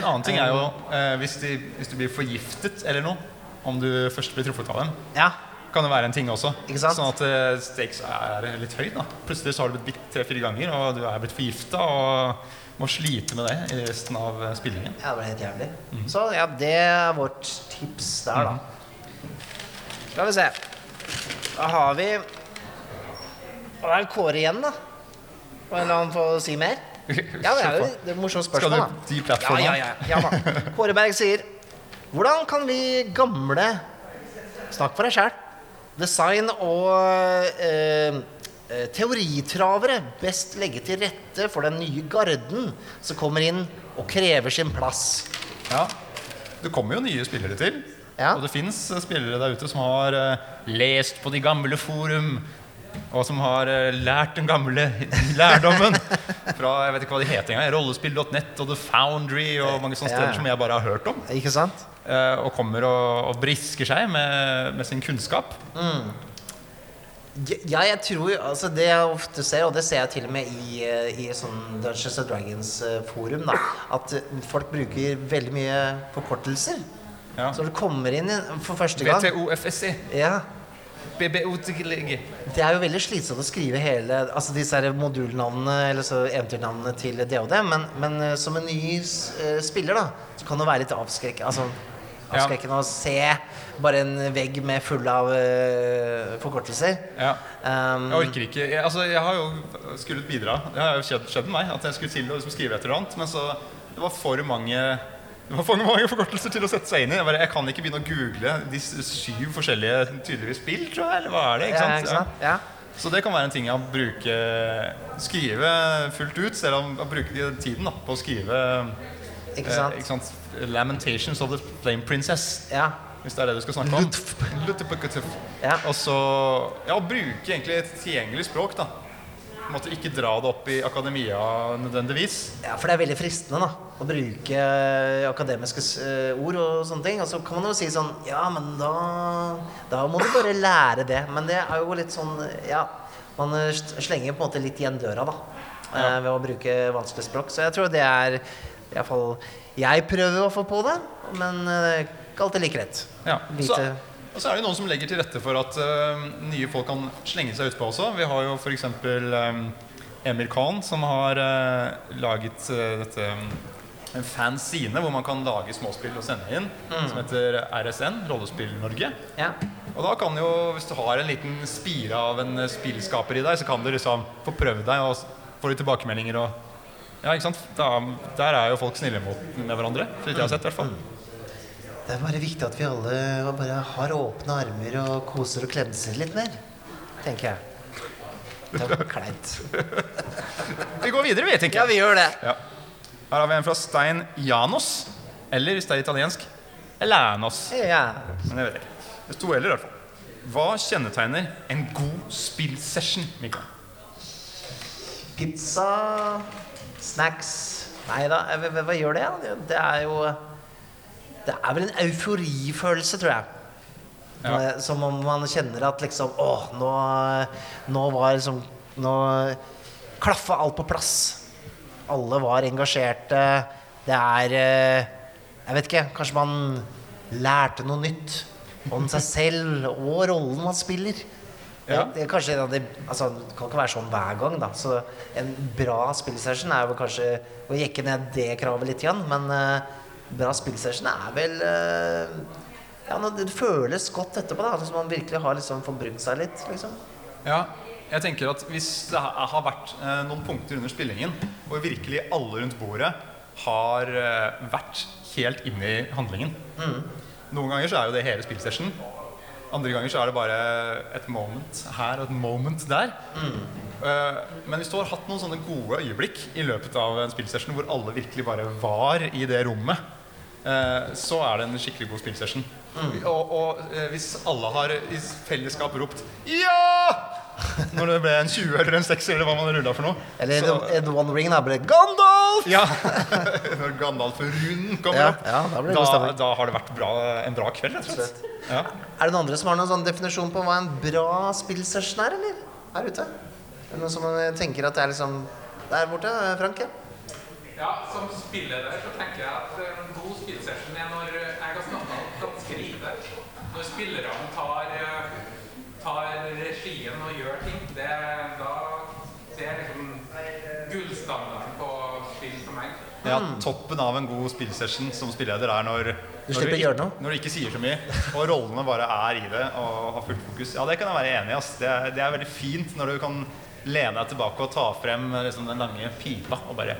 S2: En annen ting er jo
S1: Um,
S2: eh, hvis, de, hvis du blir forgiftet eller noe, om du først blir truffet av dem,
S1: Ja.
S2: kan det være en ting også.
S1: Ikke sant?
S2: Sånn at eh, stakes er litt høyt. da. Plutselig så har du blitt bitt tre-fire ganger, og du er blitt forgifta og må slite med det i resten av eh, spillingen.
S1: Ja, det var helt jævlig. Så ja, det er vårt tips der, da. Skal vi se. Da har vi Og det er Kåre igjen, da. Og en eller annen får si mer. Ja, det er jo det er et morsomt
S2: Skal du
S1: spørsmål, da.
S2: de plattformene?
S1: Ja, ja, ja. ja da. Kåre Berg sier Hvordan kan vi gamle Snakk for deg sjæl. Design og eh, eh, teoritravere best legge til rette for den nye garden som kommer inn og krever sin plass.
S2: Ja. Det kommer jo nye spillere til.
S1: Ja.
S2: Og det fins spillere der ute som har eh, lest på de gamle forum, og som har eh, lært den gamle lærdommen fra jeg vet ikke hva de heter engang, rollespill.net og The Foundry og mange sånne
S1: Ja.
S2: steder som jeg bare har hørt om.
S1: Ikke sant?
S2: eh, og kommer og, og brisker seg med, med sin kunnskap.
S1: Ja, jeg tror altså Det jeg ofte ser, og det ser jeg til og med i, eh, i sånn Dungeons and Dragons-forum, da, at eh, folk bruker veldig mye forkortelser.
S2: Ja.
S1: Så når du kommer inn i- for første gang
S2: BTOFSI.
S1: ja,
S2: BBOTLG.
S1: Det er jo veldig slitsomt å skrive hele altså disse her modulnavnene eller så eventyrnavnene til DOD, men, men eh, som en ny s- eh, spiller da, så kan det være litt avskrekkende. Altså,
S2: Ja.
S1: avskrekkende å se bare en vegg med full av eh, forkortelser.
S2: Ja.
S1: Um,
S2: Jeg orker ikke jeg, Altså, jeg har jo skullet bidra. Det har jo skjedd, skjedd med meg at jeg skulle til å liksom skrive et eller annet, men så Det var for mange det var for mange forkortelser til å sette seg inn i. Jeg, bare, jeg kan ikke begynne å google de s- syv forskjellige tydeligvis spill, tror jeg. Eller hva er det? Ikke
S1: ja,
S2: sant?
S1: ikke sant? Ja.
S2: Ja. Så det kan være en ting jeg bruker Skrive fullt ut, selv om jeg bruker tiden da, på å skrive
S1: Ikke sant?
S2: Eh, ikke sant? Lamentations of the Flame Princess.
S1: Ja.
S2: Hvis det er det du skal snakke om.
S1: Ludf.
S2: Lutfpkutf.
S1: Ja.
S2: Og så ja, bruke egentlig et tilgjengelig språk, da. På en måte ikke dra det opp i akademia nødvendigvis.
S1: ja, for det er veldig fristende da, å bruke akademiske s- eh, ord og sånne ting. Og så kan man jo si sånn Ja, men da, da må du bare lære det. Men det er jo litt sånn Ja, man eh, s- slenger på en måte litt igjen døra, da. eh, Ved å bruke vanskelig språk. Så jeg tror det er i hvert fall Jeg prøver å få på det, men eh, det er ikke alltid like lett.
S2: Ja. Så,
S1: Vite-
S2: og så er det noen som legger til rette for at eh, nye folk kan slenge seg utpå også. Vi har jo f.eks. Um, Emir Khan, som har eh, laget eh, dette eh, en fanscene hvor man kan lage småspill og sende inn,
S1: Mm.
S2: som heter RSN, Rollespill Norge.
S1: Ja.
S2: Og da kan jo, hvis du har en liten spire av en eh, spillskaper i deg, så kan du liksom få prøvd deg, og s- får du tilbakemeldinger og Ja, ikke sant? Da, der er jo folk snille mot med hverandre, så vidt jeg har sett, i hvert fall.
S1: Det er bare viktig at vi alle bare har åpne armer og koser og klemser litt mer, tenker jeg. Det var kleint.
S2: Vi går videre, vi, tenker
S1: Ja,
S2: jeg.
S1: vi gjør det.
S2: Ja. Her har vi en fra Stein Janos. Eller hvis det er italiensk Lanos.
S1: Ja.
S2: Men jeg vet ikke. Det sto eller, i hvert fall. Hva kjennetegner en god spillsession? Mikael?
S1: Pizza, snacks Nei da, eh, hva, hva gjør det? da? Det er jo Det er vel en euforifølelse, tror jeg.
S2: Ja.
S1: Eh, Som om man kjenner at liksom Å, nå, nå var liksom Nå klaffa alt på plass. Alle var engasjerte. Det er eh, Jeg vet ikke. Kanskje man lærte noe nytt om seg selv og rollen man spiller.
S2: Ja.
S1: Det, det er kanskje en av de altså, Det kan ikke være sånn hver gang, da. Så en bra spillsession er vel kanskje å jekke ned det kravet litt, igjen, men eh, bra spillsession er vel eh, ja, når det føles godt etterpå, da. Hvis man virkelig har liksom forbrukt seg litt, liksom.
S2: Ja, jeg tenker at hvis det ha- har vært eh, noen punkter under spillingen, og virkelig alle rundt bordet har eh, vært helt inne i handlingen Noen ganger så er jo det hele spillsession. Andre ganger så er det bare et moment her og et moment der.
S1: Mm.
S2: Eh, men hvis du har hatt noen sånne gode øyeblikk i løpet av en spillsession hvor alle virkelig bare var i det rommet, eh, så er det en skikkelig god spillsession.
S1: Mm.
S2: Og, og eh, hvis alle har i fellesskap ropt 'ja!' når det ble en 20 eller en 6 eller hva man rulla for noe.
S1: Eller
S2: så,
S1: en, en One Ring, da. Bare Gandalf!
S2: ja. Når Gandalf-runen kommer
S1: Ja,
S2: opp,
S1: ja, da blir det god
S2: da,
S1: stemning.
S2: da har det vært bra, en bra kveld, rett og slett. Ja.
S1: Er det noen andre som har noen sånn definisjon på hva en bra spillsession er, eller? Her ute? Er det noen som eh, tenker at det er liksom Der borte, eh, Frank? Ja.
S5: Ja, som spiller der så tenker jeg at en god spillsession er når eh, jeg har snakket om ganske lite. Når spillerne tar, eh, tar regien og gjør ting, det, da, det er liksom gullstandarden på spill for meg.
S2: Ja, Toppen av en god spillsession som spilleder er når
S1: Hmm. Du
S2: når
S1: slipper
S2: ik-
S1: å gjøre noe.
S2: Når du ikke sier så mye, og rollene bare er i det og har fullt fokus. Ja, det kan jeg være enig i. ass. Det, er- det er veldig fint når du kan lene deg tilbake og ta frem eh, liksom, den lange pipa og bare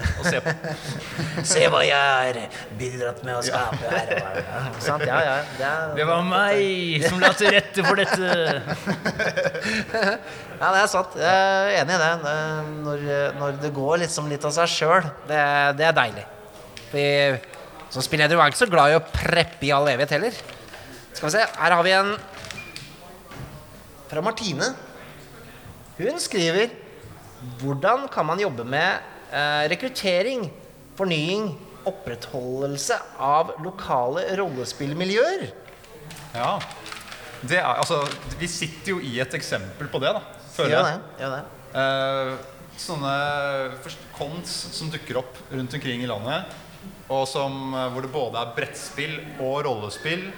S2: og se på.
S1: Se hva jeg har bidratt med å skape her. og her, ja. Ikke sant? Ja, ja. Det, er,
S6: var meg som la til rette for dette.
S1: ja, det er sant. Jeg er enig i det. det. Når, når det går liksom litt av seg sjøl, det, det er deilig. Vi, som spilleder var jeg ikke så glad i å preppe i all evighet heller. Skal vi se, her har vi en fra Martine. Hun skriver Hvordan kan man jobbe med eh, rekruttering, fornying, opprettholdelse av lokale rollespillmiljøer?
S2: Ja. Det er, altså, vi sitter jo i et eksempel på det, da. Føler
S1: Gjør
S2: jeg.
S1: det. Gjør det.
S2: Eh, sånne først cons som dukker opp rundt omkring i landet, og som, eh, hvor det både er brettspill og rollespill,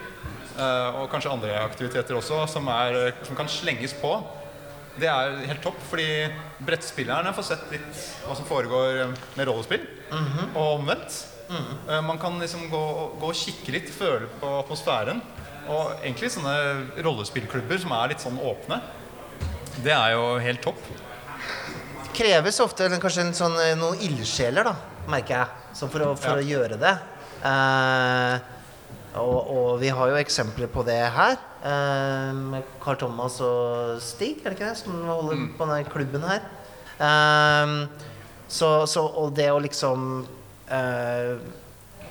S2: eh, og kanskje andre aktiviteter også, som, er, som kan slenges på. Det er helt topp, fordi brettspillerne får sett litt hva som foregår med rollespill, og omvendt. Eh, Man kan liksom gå, gå og kikke litt, føle på atmosfæren. Og egentlig sånne rollespillklubber som er litt sånn åpne. Det er jo helt topp.
S1: kreves ofte eller kanskje en sånn, eh, noen ildsjeler, da, merker jeg, som for å, for å gjøre det. Eh, og, og vi har jo eksempler på det her. eh, med Carl Thomas og Stig, er det ikke det? Som holder på denne klubben her. Eh, så, så, og det å liksom eh,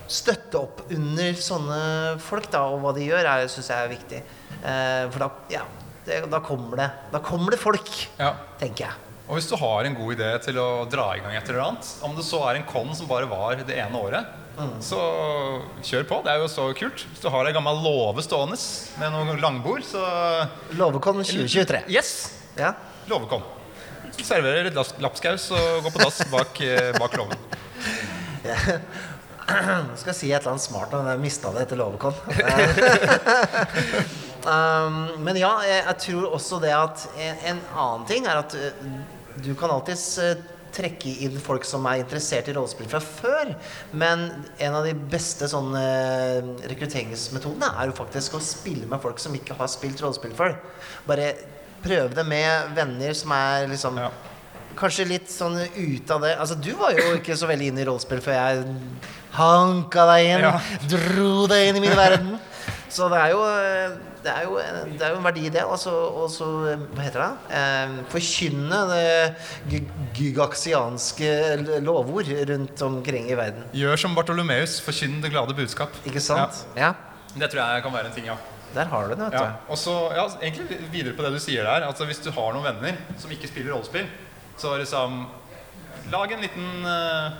S1: støtte opp under sånne folk, da, og hva de gjør, syns jeg er viktig. Eh, for da, ja, det, da kommer det Da kommer det folk,
S2: Ja.
S1: tenker jeg.
S2: Og hvis du har en god idé til å dra i gang et eller annet, om det så er en con som bare var det ene året, så kjør på. Det er jo så kult. Hvis du har ei gammel låve stående med noen langbord, så
S1: Lovekon 2023.
S2: Yes!
S1: Ja.
S2: Låvekon. Serverer litt laps- lapskaus og går på dass bak, eh, bak låven.
S1: Jeg skal si et eller annet smart, men jeg mista det etter Lovekon. Eh, um, men ja, jeg, jeg tror også det at en, en annen ting er at eh, du kan alltids eh, trekke inn folk som er interessert i rollespill fra før, men en av de beste sånne eh, rekrutteringsmetodene er jo faktisk å spille med folk som ikke har spilt rollespill før. Bare prøve det med venner som er liksom
S2: Ja.
S1: Kanskje litt sånn ut av det Altså, du var jo ikke så veldig inne i rollespill før jeg hanka deg inn,
S2: Ja.
S1: dro deg inn i min verden. Så det er jo eh, Det er jo, det er jo en verdi i det. Og så, og så eh, Hva heter det? Eh, forkynne det gy- gygaksianske l- lovord rundt omkring i verden.
S2: Gjør som Bartolomeus, forkynn det glade budskap.
S1: Ikke sant? Ja.
S2: Ja, det tror jeg kan være en ting, ja.
S1: Der har du det, vet
S2: ja.
S1: du.
S2: Og så, ja, egentlig videre på det du sier der, altså hvis du har noen venner som ikke spiller rollespill, så liksom Lag en liten eh,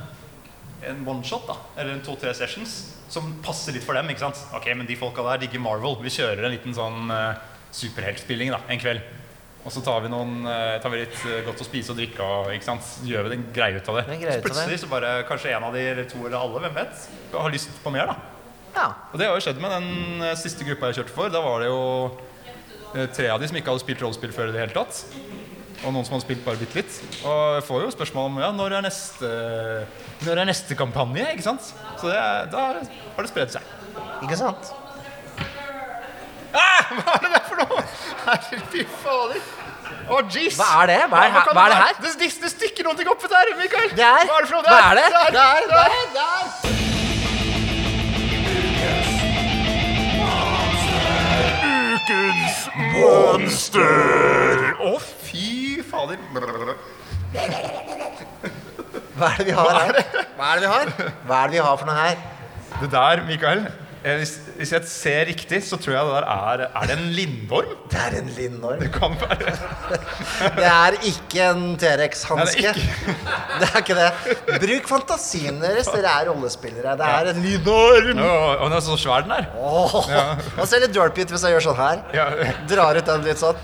S2: en one-shot, da, eller en to-tre sessions, som passer litt for dem, ikke sant? Ok, men de folka der digger Marvel. Vi kjører en liten sånn eh, superheltspilling, da, en kveld. Og så tar vi, noen, eh, tar vi litt eh, godt å spise og drikke og ikke sant? Så gjør vi en greie ut av det.
S1: En greie
S2: så
S1: ut av
S2: plutselig
S1: det.
S2: så bare kanskje en av de eller to eller alle, hvem vet, har lyst på mer, da.
S1: Ja.
S2: Og det har jo skjedd med den eh, siste gruppa jeg kjørte for. Da var det jo eh, tre av de som ikke hadde spilt rollespill før i det hele tatt. Og noen som hadde spilt bare bitte litt. Og jeg får jo spørsmål om ja, når er neste, når er neste kampanje, ikke sant? Så det, er- da har det- har det spredt seg.
S1: Ikke sant?
S2: Ah, hva er det der for noe? Herregud, fy fader. Å, jeez.
S1: Hva er det? Hva er
S2: Ja,
S1: he-
S2: kan
S1: hva er det
S2: du-
S1: her?
S2: Det, det, det stikker noe opp der, Mikael.
S1: Det er-
S2: Hva er det for noe?
S1: hva er det?
S2: Det er, det er, det er. Ukens monster. Å, fy fader.
S1: Hva er det vi har her? Hva er det vi har? Hva er det vi har for noe her?
S2: Det der, Mikael. eh, Hvis, hvis jeg ser riktig, så tror jeg det der er Er det en lindorm?
S1: Det er en lindorm.
S2: Det kan være.
S1: Det er ikke en T-rex-hanske.
S2: Nei, det
S1: Det er ikke det. Bruk fantasien deres. Dere er rollespillere. Det er en lindorm.
S2: Å, å, den er så svær, den der.
S1: Åh, Og så er det derpy ut hvis jeg gjør sånn her.
S2: Ja.
S1: Drar ut den litt sånn.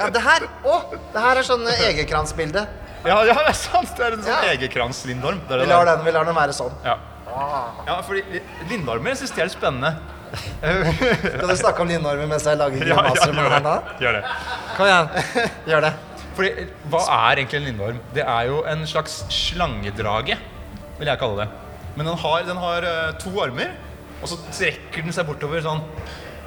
S1: Ja, det her. Å, det her er sånn eh, egekransbilde.
S2: Ja, ja, det er sant. Det er en sånn
S1: Ja.
S2: egekrans-lindorm. Det er
S1: Vi
S2: det
S1: lar
S2: der.
S1: den, vi lar den være sånn.
S2: Ja. ja, fordi lindormer syns de er litt spennende.
S1: Skal du snakke om lindormer mens jeg lager
S2: Ja, ja,
S1: grimaser med
S2: gjør
S1: her
S2: det.
S1: nå?
S2: Gjør det.
S1: Kom igjen. Gjør det.
S2: Fordi, hva er egentlig en lindorm? Det er jo en slags slangedrage, vil jeg kalle det. Men den har, den har eh, to armer, og så trekker den seg bortover sånn.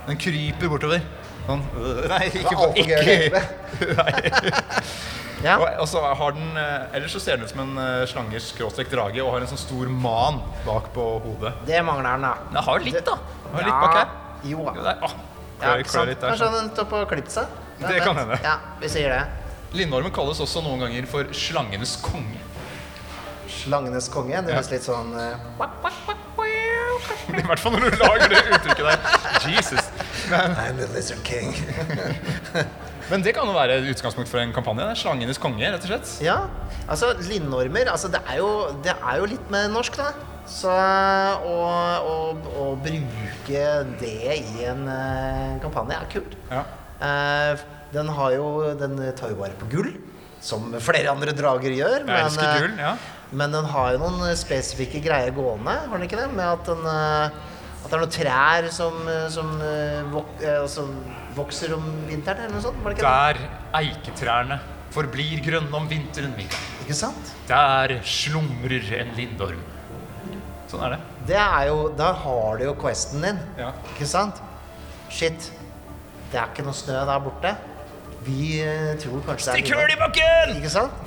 S2: Den kryper bortover. Sånn. øh, Nei, ikke,
S1: var alt for gøy å
S2: ikke.
S1: Ja.
S2: Og, og så har den, eh, ellers så ser den ut som en eh, slangers skråstrek drage og har en sånn stor man bak på hodet.
S1: Det mangler den, da.
S2: Den har litt, da. Den Har litt
S1: Ja.
S2: bak her.
S1: Jo da.
S2: Jo, der. Ah,
S1: Ja,
S2: klør-
S1: ikke
S2: klør
S1: sant?
S2: litt der, sånn?
S1: Kanskje han står på å klippe seg? Hvem
S2: Det kan
S1: vet?
S2: hende.
S1: Ja, vi sier det.
S2: Lindormen kalles også noen ganger for slangenes konge.
S1: Slangenes konge. Det høres litt sånn eh,
S2: I hvert fall når du lager det uttrykket der. Jesus.
S1: I'm the lizard king.
S2: Men det kan jo være et utgangspunkt for en kampanje. Det er Slangenes konge, rett og slett.
S1: Ja, altså lindormer altså, det, er jo, det er jo litt med norsk, da. Så å, å, å bruke det i en eh, kampanje er kult.
S2: Ja.
S1: Eh, den, har jo, den tar jo vare på gull, som flere andre drager gjør.
S2: Jeg elsker
S1: eh,
S2: gull, ja.
S1: men den har jo noen eh, spesifikke greier gående, har den ikke det? Med at, den, eh, at det er noen trær som, eh, som, eh, vok eh, som vokser om vinteren, eller noe sånt? Var det ikke
S2: Der eiketrærne forblir grønne om vinteren, Mikael.
S1: det? Ikke sant?
S2: Der slumrer en lindorm. Sånn er det.
S1: Det er jo, da har du jo questen din,
S2: Ja.
S1: ikke sant? Shit, det er ikke noe snø der borte. Vi eh, tror kanskje det er
S2: Stikk
S1: lille.
S2: hull i bakken!
S1: Ikke sant?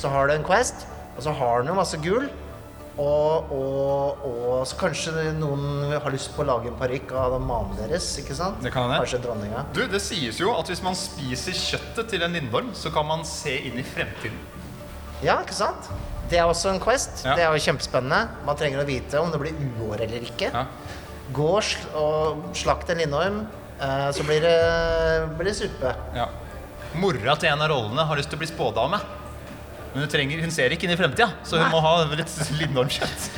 S1: Så har du en quest, og så har du masse gull. Og, og, og så kanskje noen har lyst på å lage en parykk av manen deres. ikke sant?
S2: Det kan hende.
S1: Kanskje dronninga.
S2: Du, det sies jo at hvis man spiser kjøttet til en lindorm, så kan man se inn i fremtiden.
S1: Ja, ikke sant? Det er også en quest.
S2: Ja.
S1: Det er jo kjempespennende. Man trenger å vite om det blir uår eller ikke.
S2: Ja.
S1: Gå og sl og slakt en lindorm, eh, så blir det, blir det suppe.
S2: Ja. Mora til en av rollene har lyst til å bli spådame. Men hun, trenger, hun ser ikke inn i fremtida, så hun må ha litt lindormkjøtt.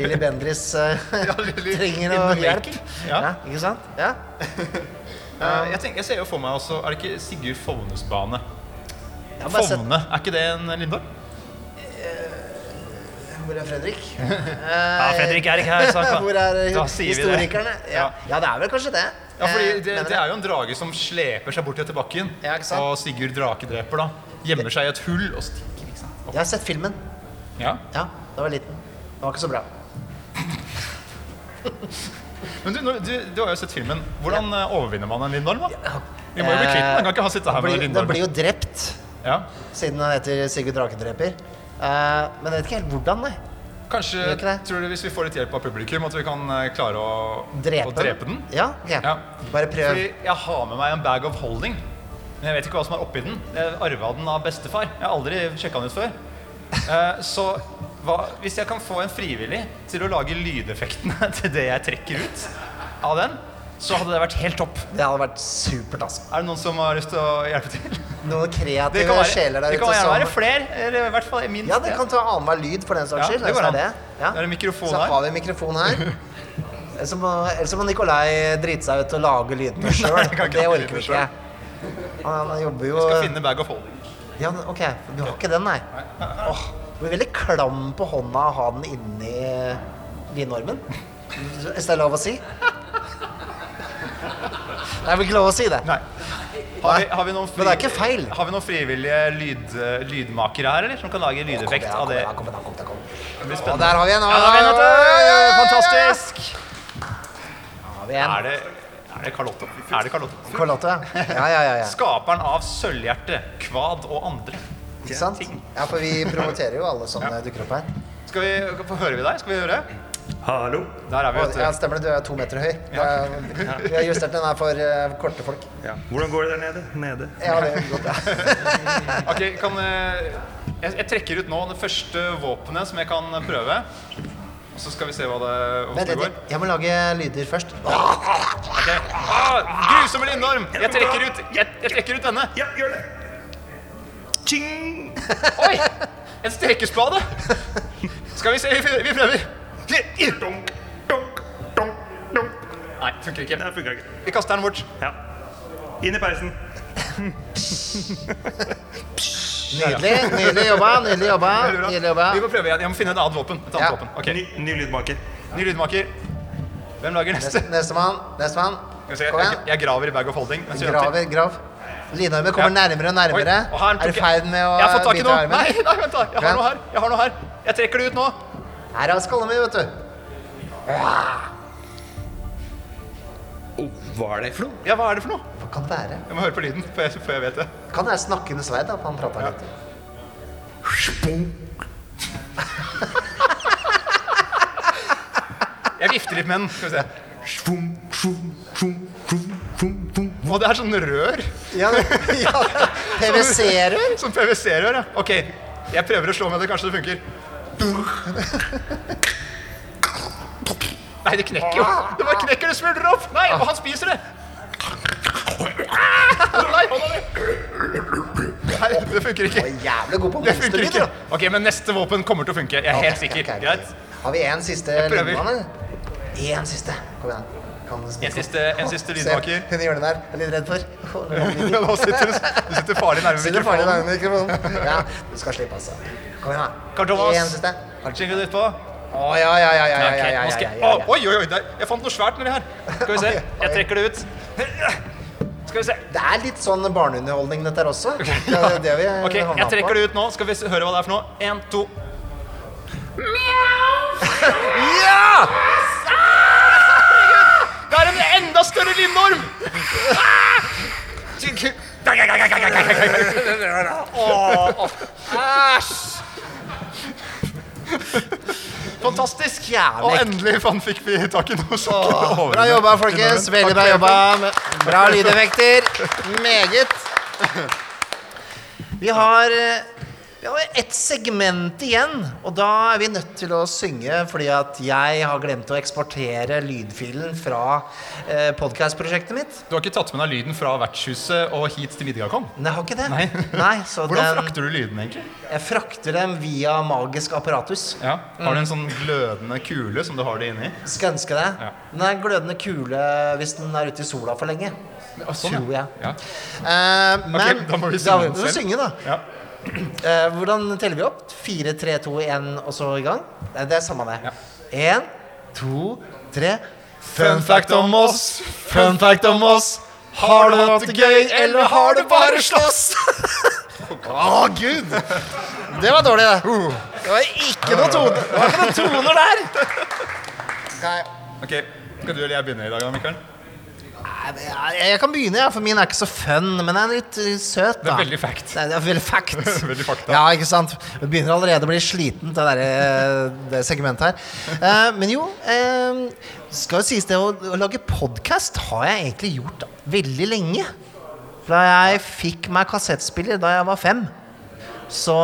S1: Lilly Bendriss eh,
S2: Ja, Lilly in
S1: trenger
S2: the
S1: noe
S2: making.
S1: hjelp.
S2: Ja.
S1: Ikke sant? Ja.
S2: Eh, jeg, tenker, jeg ser jo for meg også Er det ikke Sigurd Fovnes bane?
S1: Jeg har bare sett-
S2: Fovne, er ikke det en lindorm?
S1: Hvor er Fredrik?
S6: Ja, Fredrik er ikke her, sa han.
S1: Hvor er eh,
S2: Da sier vi det.
S1: historikerne? Ja.
S2: Ja.
S1: ja, det er vel kanskje det.
S2: Ja, fordi
S1: Eh,
S2: det,
S1: mener
S2: det er jo en drage som sleper seg bort etter bakken.
S1: Ja, ikke sant?
S2: Og Sigurd drakedreper da gjemmer seg i et hull og stikker. ikke sant?
S1: Jeg har sett filmen.
S2: Ja.
S1: Ja, da var jeg liten. Det var ikke så bra.
S2: Men du, når- du, du har jo sett filmen. Hvordan eh, overvinner man en lindorm? da? Vi må jo bli
S1: Eh,
S2: kvitt den. Den kan ikke ha sittet her med
S1: blir-
S2: en
S1: Den blir
S2: lindorm.
S1: jo drept,
S2: Ja.
S1: siden han heter Sigurd Drakedreper. Eh, men jeg vet ikke helt hvordan, nei.
S2: Kanskje
S1: Gjør ikke det?
S2: tror du hvis vi får litt hjelp av publikum, at vi kan eh, klare å
S1: Drepe,
S2: å drepe den?
S1: Ja, ok.
S2: Ja.
S1: Bare prøv.
S2: Fordi jeg har med meg en bag of holding. Men jeg vet ikke hva som er oppi den. Jeg arva den av bestefar. Jeg har aldri sjekka den ut før. Eh, Så hva, hvis jeg kan få en frivillig til å lage lydeffektene til det jeg trekker ut av den, så hadde det vært helt topp.
S1: Det hadde vært supert, altså.
S2: Er det noen som har lyst til å hjelpe til?
S1: Noen kreative
S2: Det kan være,
S1: sjeler der
S2: det kan
S1: ute
S2: gjerne være
S1: som
S2: flere. Eller i hvert fall minst.
S1: Ja, det kan ta annenhver lyd for den
S2: Ja,
S1: saks skyld.
S2: det går
S1: hvis
S2: an.
S1: er Ja.
S2: Det er en mikrofon
S1: så
S2: her.
S1: har vi en mikrofon her. Ellers så må, ellers så må Nikolai drite seg ut og lage lydene sjøl.
S2: jeg kan ikke
S1: Det
S2: lage
S1: orker
S2: lydene
S1: vi ikke. Han, han jobber jo
S2: Skal finne bag of holding.
S1: ja, men OK, du har ikke den, nei? Åh, du blir veldig klam på hånda av å ha den inni vinormen. Hvis det er lov å si? Det er vel ikke lov å si det.
S2: Nei. Har vi, har vi noen
S1: Men det er ikke feil.
S2: Har vi noen frivillige lyd, lydmakere her, eller? Som kan lage lydeffekt
S1: Kom
S2: av det?
S1: igjen, kom igjen, kom igjen, kom igjen.
S2: Det blir
S1: Og
S2: spennende.
S1: der har vi en.
S2: Ja, da har vi en, vet du. Fantastisk!
S1: Der har vi en.
S2: Er det, er det Carlotta? Er det Carlotta?
S1: Carlotte, ja. Ja, ja, ja. ja.
S2: Skaperen av Sølvhjerte, Kvad og andre.
S1: Ikke sant? Ja, for vi promoterer jo alle som eh, dukker opp her.
S2: Skal vi, få- hører vi deg? Skal vi høre?
S6: Hallo.
S2: Der er vi,
S1: Og, ja,
S2: vet du.
S1: stemmer det, du er to meter høy. Det er, vi har justert den her for eh, korte folk.
S6: Ja. Hvordan går det der nede? Nede.
S1: Ja, det er godt, ja.
S2: Ok, kan eh, jeg, jeg trekker ut nå det første våpenet som jeg kan prøve. Og så skal vi se hva det, hvordan
S1: Vent
S2: det
S1: litt,
S2: går.
S1: jeg må lage lyder først.
S2: Ok. Ah, grusomme lindorm! Jeg trekker ut, jeg, jeg trekker ut denne.
S6: Ja, gjør det. Ching!
S2: Oi! En strekespade! Skal vi se, vi, vi prøver.
S6: Donk, donk, donk, donk.
S2: Nei, funker ikke.
S6: Det funka ikke.
S2: Vi kaster den bort.
S6: Ja. Inn i peisen.
S1: Nydelig, nydelig jobba, nydelig jobba. Nydelig jobba.
S2: Vi må prøve igjen. Jeg må finne et annet våpen. Et annet
S1: Ja.
S2: våpen. Ok,
S6: Ny, ny lydmaker.
S2: Ny lydmaker. Hvem lager neste?
S1: Neste- Nestemann, nestemann.
S2: Skal vi se,
S1: Kom
S2: Jeg,
S1: igjen.
S2: jeg graver i bag of holding. mens vi venter.
S1: Graver, grav. Linarmen kommer
S2: Ja.
S1: nærmere og
S2: Oi,
S1: nærmere.
S2: og her
S1: Er
S2: tok
S1: i
S2: jeg-
S1: ferd med å
S2: Jeg har fått tak i
S1: bite
S2: noe.
S1: i
S2: Nei,
S1: armen.
S2: nei, vent da. Jeg har
S1: Vent.
S2: noe her. Jeg har noe her. Jeg trekker det ut nå.
S1: Her er skallen min, vet du.
S6: hva er det for noe?
S2: Ja, hva er det for noe?
S1: Hva kan det være?
S2: Jeg må høre på lyden før jeg, før jeg vet det.
S1: Kan det være snakkende sverd? da, for Han prater litt.
S2: Jeg vifter litt med den. Skal vi se. Å, det er sånn rør.
S1: Ja, det- ja, det- PVC-rør?
S2: Som PwC-rør, ja. Ok, jeg prøver å slå med det. Kanskje det funker. Nei, det knekker jo. Det bare knekker, det smuldrer opp. Nei, og han spiser det. Nei, hånda mi. Nei, det funker ikke.
S1: Jævlig god på
S2: Det funker
S1: monsterlyder,
S2: ikke.
S1: da.
S2: Ok, men neste våpen kommer til å funke. Jeg er helt
S1: Ok,
S2: sikker.
S1: ok, ok.
S2: Greit.
S1: Har vi en siste
S2: prøver.
S1: lydmann, eller? En siste. Kom igjen. Kan du snakke?
S2: En siste, en siste lydmaker.
S1: Se, hun gjør det der. Jeg er litt redd for.
S2: Nå sitter du du sitter farlig nærme
S1: Sitter farlig
S2: mikrofonen.
S1: nærme mikrofonen. Ja, du skal slippe, altså. Kom igjen, da.
S2: Karl Thomas.
S1: En siste.
S2: Jingle det utpå.
S1: Å, ja, ja, ja, ja, ja,
S2: Ok,
S1: ja, ja,
S2: nå
S1: ja,
S2: skal jeg-
S1: ja,
S2: Å,
S1: ja.
S2: Oi, oi, oi. der- Jeg fant noe svært nedi her. Skal vi se. Jeg trekker det ut. Skal vi se.
S1: Det er litt sånn barneunderholdning, dette her også. Det er det- det vi
S2: Ok, jeg trekker det ut nå. Skal vi se- høre hva det er for noe. En, to.
S1: Ja!
S2: Det er en enda større lindorm! Åh, åh. Æsj! Fantastisk.
S1: Jævlig.
S2: Og endelig fan, fikk vi tak i noe skikkelig
S1: Åh,
S2: over.
S1: Ah, Bra jobba, folkens. Veldig bra jobba. Bra lydeffekter. Meget. Vi har, eh, vi har ett segment igjen, og da er vi nødt til å synge fordi at jeg har glemt å eksportere lydfilen fra eh, podkastprosjektet mitt.
S2: Du har ikke tatt med deg lyden fra vertshuset og hit til Midgardkong?
S1: Nei, jeg har ikke det.
S2: Nei.
S1: så
S2: Hvordan
S1: den,
S2: frakter du lyden, egentlig?
S1: jeg frakter dem via magisk apparatus.
S2: Ja. Har du en sånn glødende kule som du har det inni?
S1: Skal ønske deg.
S2: Ja.
S1: Den er en glødende kule hvis den er ute i sola for lenge. Tror jeg.
S2: sånn, Ja.
S1: Eh, Sånn, men
S2: da må vi
S1: da
S2: synge den
S1: må vi
S2: selv.
S1: synge, da.
S2: Ja.
S1: Eh, hvordan teller vi opp? 4, 3, 2, 1 og så i gang? Nei, det er samme det. 1, 2, 3 Fun fact om oss, fun fact om oss. Har du hatt det gøy, eller har du bare slåss? Å, gud! Det var dårlig, det. Det var ikke noe tone. Det var ikke noen toner der.
S2: Ok, Skal du eller jeg begynne i dag, da, Mikael?
S1: Nei, Jeg- Jeg kan begynne, ja, for min er ikke så fun, men den er litt eh, søt.
S2: Det
S1: da.
S2: er veldig fact.
S1: Det er, det er veldig fact.
S2: Veldig fakta.
S1: Ja, ikke sant? Det begynner allerede å bli sliten, det, der, eh, det segmentet her. Eh, men jo, eh, skal jo sies det å, å lage podkast har jeg egentlig gjort veldig lenge. Da jeg fikk meg kassettspiller da jeg var fem, så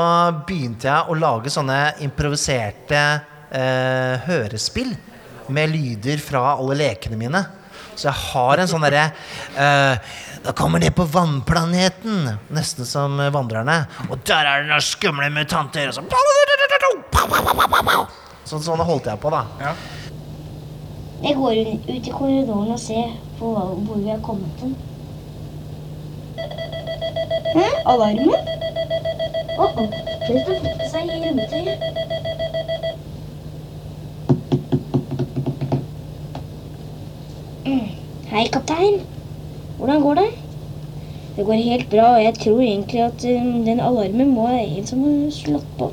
S1: begynte jeg å lage sånne improviserte eh, hørespill med lyder fra alle lekene mine. Så jeg har en sånn derre eh, Da kommer det på vannplaneten! Nesten som eh, Vandrerne. Og der er det noen skumle mutanter! Og så så, sånn holdt jeg på, da.
S7: Jeg går un- ut i korridoren og ser på hva- hvor vi har kommet til. Hæ? Alarmen? Å, å. Plutselig flyttet seg i hjemmetøyet. Mm. Hei, kaptein. Hvordan går det? Det går helt bra, og jeg tror egentlig at um, den alarmen må ha en som har slått på.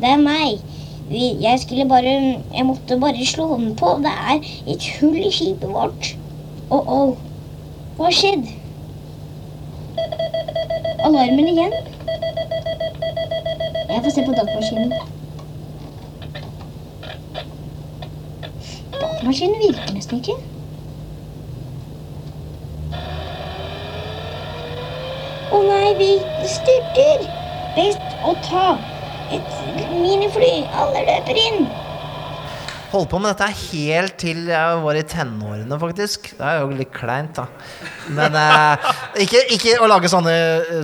S7: Det er meg. Vi- Jeg skulle bare Jeg måtte bare slå den på. Det er et hull i skipet vårt. Å, å. Hva har skjedd? Alarmen igjen. Jeg får se på datamaskinen. Datamaskinen virker nesten ikke. Å nei, vi styrter! Best å ta et minifly. Alle løper inn.
S1: Holdt på med dette helt til jeg var i tenårene, faktisk. Det er jo litt kleint, da. Men eh, ikke, ikke å lage sånne,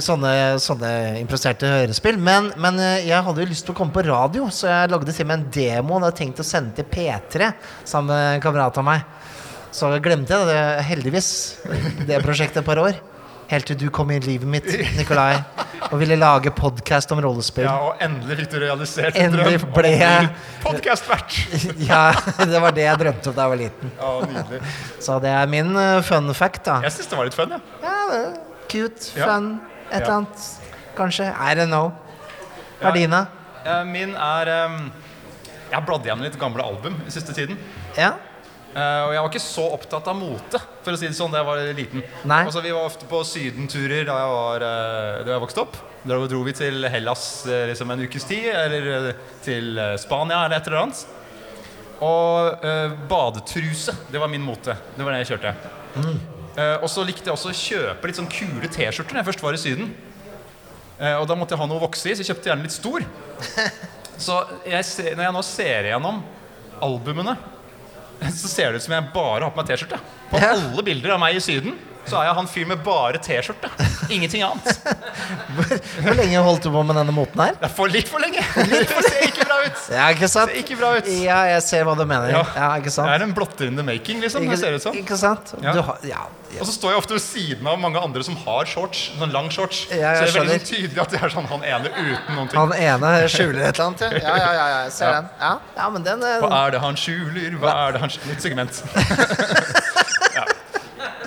S1: sånne, sånne improviserte hørespill. Men, men eh, jeg hadde jo lyst til å komme på radio, så jeg lagde til og med en demo. Og hadde tenkt å sende til P3 sammen med en kamerat av meg. Så glemte jeg det, heldigvis, det prosjektet et par år. Helt til du kom i livet mitt, Nikolai, og ville lage podkast om rollespill.
S2: Ja, og endelig fikk du realisert en drøm.
S1: Endelig ble jeg-
S2: Podkastvert!
S1: Ja, det var det jeg drømte om da jeg var liten.
S2: Ja, nydelig.
S1: Så det er min eh, fun fact, da.
S2: Jeg syns det var litt fun, jeg.
S1: Ja, det er cute,
S2: Ja.
S1: fun, et eller
S2: Ja.
S1: annet. Kanskje. I don't know. Hva er dine?
S2: Eh, Min er ehm, Jeg bladde gjennom litt gamle album i siste tiden.
S1: Ja?
S2: Eh, og jeg var ikke så opptatt av mote, for å si det sånn, da jeg var liten.
S1: Nei.
S2: Altså, vi var ofte på sydenturer da jeg, var, eh, da jeg vokste opp. Da dro vi til Hellas eh, liksom en ukes tid, eller eh, til eh, Spania eller et eller annet. Og eh, badetruse, det var min mote. Det var det jeg kjørte. Eh, og så likte jeg også å kjøpe litt sånn kule T-skjorter når jeg først var i Syden. Eh, og da måtte jeg ha noe å vokse i, så jeg kjøpte gjerne litt stor. Så jeg ser, når jeg nå ser igjennom albumene så ser det ut som jeg bare har på meg T-skjorte. På
S1: Ja.
S2: alle bilder av meg i Syden så er jeg han fyren med bare T-skjorte. Ingenting annet.
S1: Hvor lenge holdt du på med denne moten her?
S2: Det er for litt for lenge. Det ser ikke bra ut.
S1: Ja, ikke sant?
S2: Ser ikke bra ut.
S1: Ja, jeg ser hva du mener. Ja, ikke
S2: Det
S1: sant?
S2: er en blotter in the making, liksom. Det ser det ut som.
S1: Ikke sant?
S2: Ja.
S1: Du har, ja.
S2: Og så står jeg ofte ved siden av mange andre som har shorts. Sånn lang shorts. Så det
S1: Ja, jeg
S2: er veldig sånn tydelig at det er sånn han ene uten noen ting.
S1: Han ene skjuler et eller annet. ja. Ja, ja, ja, ja. jeg ser den. Ja, ja men den eh,
S2: Hva er det han skjuler? Hva er det han skjuler? Nytt segment. Ja.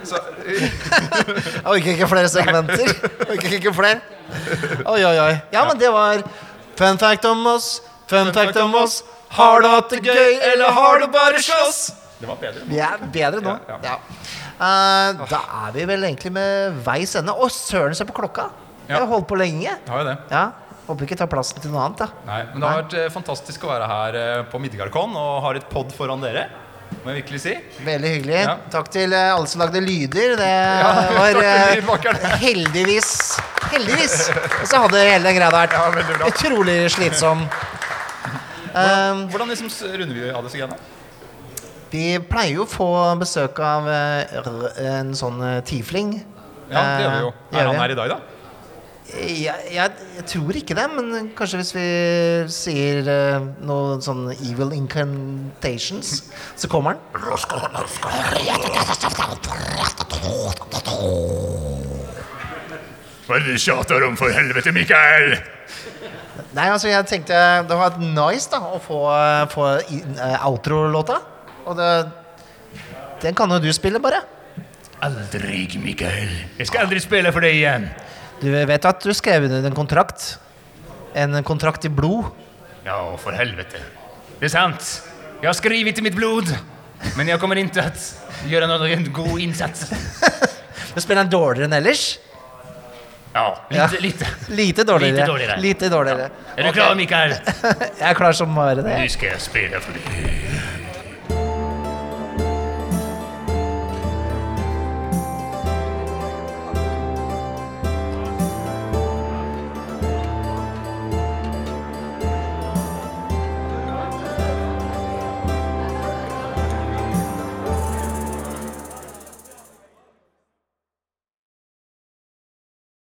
S2: Så, eh,
S1: Jeg orker ikke flere segmenter. Jeg Orker ikke flere. Oi, oi, oi. Ja, men det var fun fact om oss, fun fact om oss. Har du hatt det gøy, eller har du bare slåss?
S2: det var bedre.
S1: Vi er bedre nå.
S2: Ja,
S1: Ja. Eh, da er vi vel egentlig med veis ende. Å, søren, se på klokka! Vi
S2: Ja.
S1: har holdt på lenge.
S2: Det har jo det.
S1: Ja, Håper vi ikke tar plassen til noe annet, da.
S2: Nei, men det har vært eh, fantastisk å være her eh, på Midgardcon og har et pod foran dere. Må jeg virkelig si.
S1: Veldig hyggelig.
S2: Ja.
S1: Takk til eh, alle som lagde lyder. Det
S2: takk
S1: var
S2: til
S1: eh,
S2: lydmakerne.
S1: heldigvis Heldigvis! Og så hadde hele den greia der
S2: Ja,
S1: vært
S2: veldig bra.
S1: utrolig slitsom. Eh,
S2: Hvordan liksom s- runder vi av disse greiene?
S1: Vi pleier jo å få besøk av eh, r- en sånn eh, tiefling.
S2: Ja, det gjør vi jo.
S1: Eh,
S2: Er
S1: gjør
S2: han
S1: vi?
S2: her i dag, da?
S1: Jeg, jeg, jeg tror ikke det, men kanskje hvis vi sier eh, noe sånn evil incantations, så kommer han.
S8: Hva er det du tjater om, for helvete, Mikael?
S1: Nei, altså jeg tenkte det var nice da å få, eh, få i- eh, outro-låta. Og det, den kan jo du spille, bare.
S8: Aldri, Mikael. Jeg skal aldri spille for deg igjen.
S1: Du vet at du skrev under en kontrakt? En kontrakt i blod.
S8: Ja, for helvete. Det er sant. Jeg har skrevet i mitt blod Men jeg kommer ikke til å gjøre noen god innsats.
S1: Du spiller den dårligere enn ellers?
S8: Ja,
S1: Ja.
S8: lite, lite.
S1: Lite dårligere.
S8: Lite dårligere.
S1: Lite dårligere.
S8: Er du klar, Mikael?
S1: Jeg er klar som bare det.
S8: Du skal spille for deg.